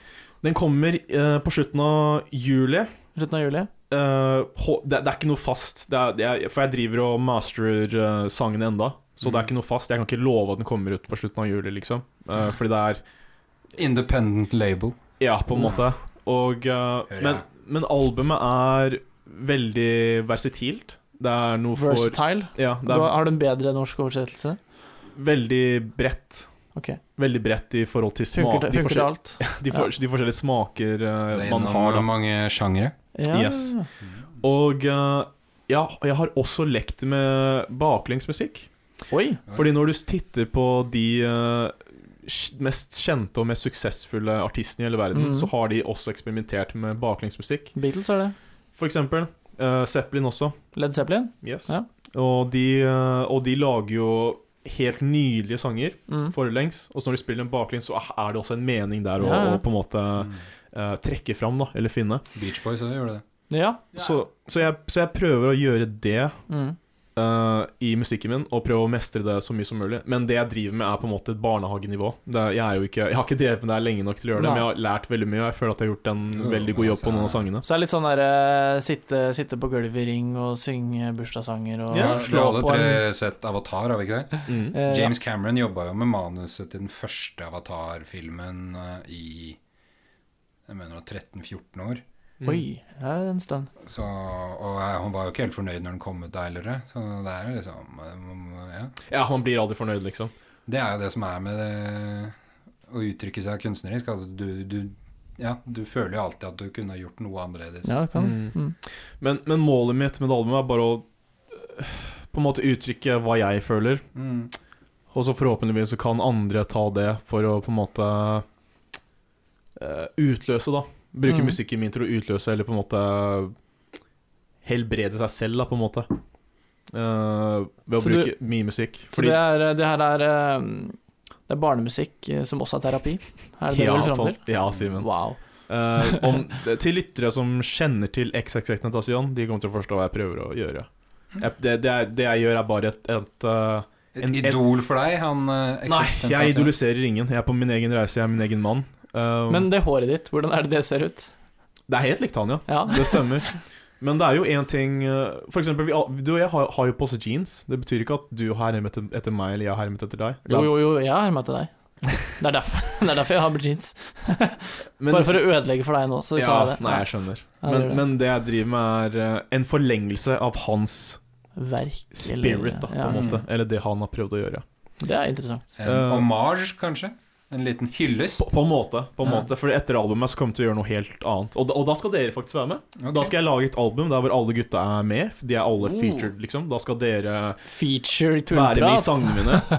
Den kommer eh, på slutten av juli.
Slutten av juli?
Eh, hå- det, det er ikke noe fast, det er, det er, for jeg driver og masterer eh, sangene enda.
Mm.
Så det er ikke noe fast. Jeg kan ikke love at den kommer ut på slutten av juli, liksom. Eh, fordi det er
Independent label.
Ja, på en måte. Og, eh,
jeg.
men, men albumet er veldig versatilt. Det er noe for
Versatile?
Ja, det
Du har-
er
Har du en bedre norsk oversettelse?
veldig bredt.
Ok.
Veldig bredt i forhold til smak.
Funker det,
de,
funker det
forskjell-
alt?
de, for, de forskjellige smaker eh,
Det er
man har.
innom
Da.
mange sjangere.
Ja.
Yes. Og eh, ja, jeg har også lekt med baklengsmusikk.
Oi.
Fordi når du titter på de eh, sj- mest kjente og mest suksessfulle artistene i hele verden,
Mhm.
så har de også eksperimentert med baklengsmusikk.
Beatles er det.
For eksempel eh, Zeppelin også.
Led Zeppelin.
Yes.
Ja.
Og, de, eh, og de lager jo helt nydelige sanger
Mm.
forlengs, og så når de spiller dem baklengs, så er det også en mening der å
Ja, ja.
å på en måte eh, trekke fram, da, eller finne.
Beach Boys òg gjorde det.
Ja.
Så, så, jeg, så jeg prøver å gjøre det
Mm.
eh, i musikken min og prøve å mestre det så mye som mulig. Men det jeg driver med, er på en måte et barnehagenivå. Det, er- jeg, er jo ikke, jeg har ikke drevet med det her lenge nok til å gjøre det,
Nei.
men jeg har lært veldig mye, og jeg føler at jeg har gjort en
Jo,
veldig god
men
jobb på noen av
altså-
sangene.
Så det er litt sånn derre sitte, sitte på gulvet i ring og synge bursdagssanger og
Ja,
Vi har
slå
alle
på en
tre sett Avatar, har vi ikke det?
Mm.
eh, ja.
James Cameron jobba jo med manuset til den første Avatar-filmen eh, i jeg mener det var 13-14 år.
Mm.
Oi, det er en stund.
Så, og jeg- han var jo ikke helt fornøyd når den kom ut der heller. Så det er jo liksom eh, ja.
Ja, man blir aldri fornøyd, liksom.
Det er jo det som er med det å uttrykke seg kunstnerisk. Altså, du, du, ja, du føler jo alltid at du kunne ha gjort noe annerledes.
Ja, det kan
Mm.
mm.
Men, men målet mitt med det albumet er bare å øh, på en måte uttrykke hva jeg føler,
Mm.
og så forhåpentligvis så kan andre ta det for å på en måte øh, utløse, da. Bruke
Mm.
musikken min til å utløse, eller på en måte helbrede seg selv, da, på en måte. Eh, ved å
Så
bruke min musikk.
Så
Fordi
det, er, det her er eh, Det er barnemusikk eh, som også er terapi. Er det det du vil fram til?
Tom- Ja, Simen.
Wow.
Eh, om, til lyttere som kjenner til XXX Natasjon, de kommer til å forstå hva jeg prøver å gjøre.
Mm.
Jeg, det, det, jeg- det jeg gjør, er bare et, et eh,
Et
En- en-
idol for deg, han eh,
Nei,
Existence,
jeg
altså.
idoliserer ingen. Jeg er på min egen reise, jeg er min egen mann. Um,
Men det håret ditt, hvordan er det det ser ut?
det er helt likt han, ja.
Ja.
Det stemmer. Men det er jo én ting uh, For eksempel, vi, al- du og jeg har, har jo på oss jeans. Det betyr ikke at du har hermet etter, etter meg, eller jeg har hermet etter deg.
Jo, jo, jo, jeg har hermet til deg. Det er derfor, det er derfor jeg har på jeans.
Men,
Bare for å ødelegge for deg nå, så
ja,
sa jeg det.
Nei, jeg skjønner.
Ja, det
Men,
gjør det.
men det jeg driver med, er uh, en forlengelse av hans
Verk
spirit, da, på
ja.
en måte.
Mm.
Eller det han har prøvd å gjøre.
Det er interessant.
En
Eh,
homage, kanskje? En liten hyllest.
På, på en måte. på en
Ja.
måte Fordi etter albumet så kommer vi til å gjøre noe helt annet. Og da, og da skal dere faktisk være med.
Ok.
Da skal jeg lage et album der hvor alle gutta er med. De er alle
Oh.
featured, liksom. Da skal dere
Feature
være med i
tullprat.
sangene mine.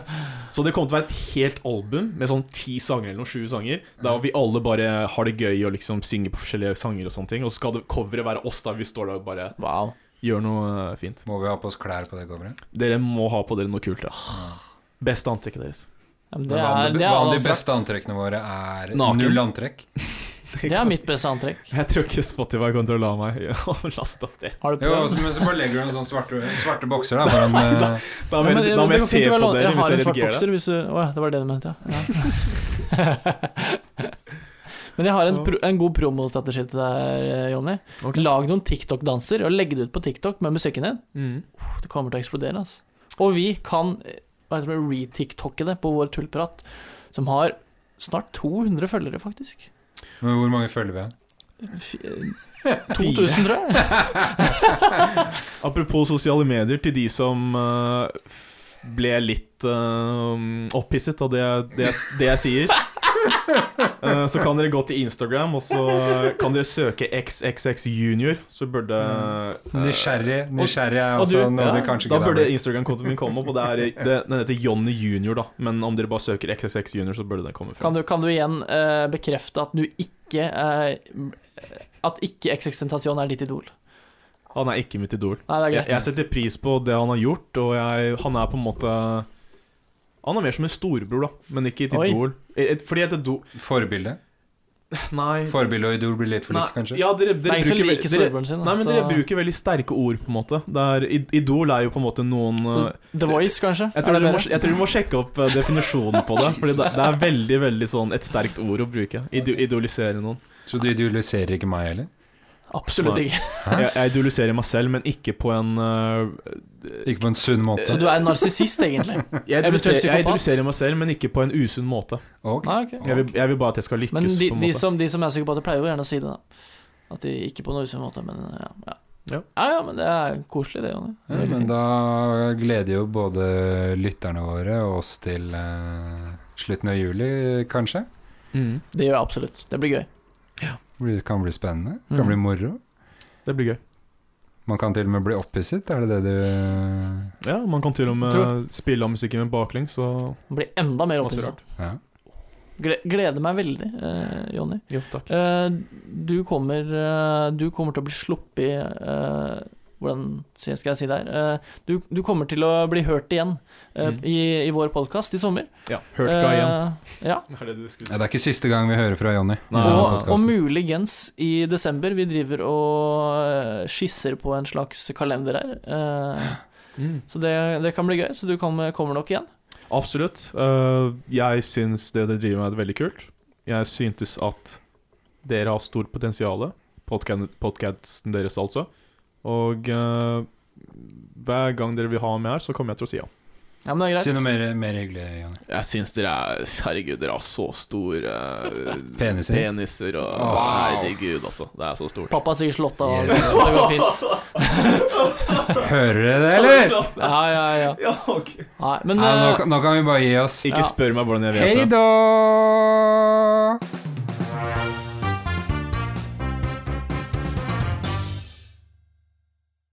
Så det kommer til å være et helt album med sånn ti sanger eller noe, sju sanger, der vi alle bare har det gøy og liksom synger på forskjellige sanger og sånne ting. Og så skal det coveret være oss da vi står der og bare
Wow.
gjør noe eh, fint.
Må vi ha på oss klær på det coveret?
Dere må ha på dere noe kult, ja. Beste antrekket deres.
Ja, men
Men
det,
hva om
er,
det-
det,
hva om
er
de beste
abstrakt.
antrekkene våre er
Naken.
null antrekk?
det er mitt beste antrekk.
Jeg tror ikke Spotify kommer til å la meg laste opp det.
Har du
Jo,
prøvd?
altså,
også, men så bare legger du noen sånne svarte, svarte bokser da, foran eh,
Da
Ja,
må,
men
jeg-
det-
da må
det
jeg
kan
se
ikke være
på
lov.
dere
Jeg
hvis
har en
jeg
svart
redigerer det.
bokser hvis du Å ja, det var det du mente, ja. ja. Men jeg har en, pro, en god promostrategi til deg, eh, Jonny.
Ok.
Lag noen TikTok-danser, og legg det ut på TikTok med musikken din.
Mm.
Puh, Det kommer til å eksplodere, altså. Og vi kan eh, hva heter det, re-tiktokke det på vår tullprat, som har snart 200 følgere, faktisk.
Men hvor mange følger vi av?
F 2000, eh, tror jeg.
Apropos sosiale medier, til de som eh, f- ble litt eh, opphisset av det, jeg- det, jeg- det jeg sier, eh, så kan dere gå til Instagram, og så kan dere søke XXX Junior, så burde eh,
Mm. Nysgjerrig, nysgjerrig er
og du-
også noe
ja,
dere kanskje
da
ikke
burde Instagram-kontoen min komme opp, og det er, det, den heter Johnny Junior, da. Men om dere bare søker XXX Junior, så burde den komme
Kan
frem.
du, kan du igjen eh, bekrefte at du ikke eh, At ikke Extentasjon er ditt idol?
Han er ikke mitt idol.
Nei, det er
Jeg,
greit.
jeg setter pris på det han har gjort, og jeg, han er på en måte Han er mer som en storebror, da, men ikke et
Oi.
idol. Et, et, fordi et idol
Forbilde.
Nei.
Forbilde og idol blir litt for
nei
likt, kanskje?
ja, dere,
det
dere,
er ingen som
bruker,
liker
dere,
storebroren altså. sin. da,
nei, men
så-
dere bruker veldig sterke ord, på en måte. Det er, i- idol er jo på en måte noen
så
eh,
The Voice, kanskje?
jeg tror,
Er
vi
det
må,
bedre?
jeg tror vi må sjekke opp eh, definisjonen på det. Fordi det,
Jesus.
det er veldig veldig sånn et sterkt ord å bruke. Ido, idolisere noen.
Så du idoliserer ikke meg heller?
Absolutt ikke.
Jeg, jeg idoliserer meg selv, men ikke på en eh,
Ikke på en sunn måte?
Så du er en narsissist, egentlig?
jeg, idoliserer,
Eventuelt
jeg
psykopat.
idoliserer meg selv, men ikke på en usunn måte.
Ok.
Nei, ok.
Jeg vil, jeg vil bare at jeg skal lykkes.
Men de,
på en
de,
måte.
som, de som er psykopater, pleier jo gjerne å si det, da. At de ikke på noen usunn måte, men ja. Ja.
Ja.
ja ja, men det er koselig, det, Jonny. Det er
Ja,
veldig
men
fint.
da gleder jo både lytterne våre og oss til eh, slutten av juli, kanskje.
Mm.
Det gjør jeg absolutt. Det blir gøy.
Det kan bli spennende. Det kan
Mm.
bli moro.
Det blir gøy.
Man kan til og med bli opphisset, er det det du
Ja, Man kan til og med
Tror
spille av musikken med baklengs. Og...
Det blir enda mer
Masse
opphisset.
Ja.
Gle- Gleder meg veldig, eh, Jonny.
Jo, takk.
Eh, du kommer eh, Du kommer til å bli sluppet eh, Hvordan sier- skal jeg si det her? Eh, du, du kommer til å bli hørt igjen eh,
Mm.
i, i vår podkast i sommer.
Ja, Hørt fra igjen.
Eh, ja.
Er det det du skulle
ja, det er ikke siste gang vi hører fra Jonny. i
Nei,
denne
ja,
og,
podcasten.
og muligens i desember. Vi driver og eh, skisser på en slags kalender her. eh,
Mm.
Så det, det kan bli gøy. Så du kommer, kommer nok igjen.
Absolutt. Eh, jeg syns det dere driver med, er veldig kult. Jeg syntes at dere har stort potensial. Podkasten deres, altså. Og eh, hver gang dere vil ha meg her, så kommer jeg til å si ja.
Ja, men det er greit.
Si noe mer, mer hyggelig, Jonny.
Jeg syns dere er Herregud, dere har så store
Peniser.
peniser og
Wow.
Herregud, altså. Det er så stort.
Pappa er sikkert slått av.
Yes.
Så det går fint.
Hører dere det, eller?
Ja, ja, ja.
Ja, ok.
Nei, men
Nei, nå,
eh,
kan- nå kan vi bare gi oss.
Ikke
Ja.
spør meg hvordan jeg vet
Hei
det.
da!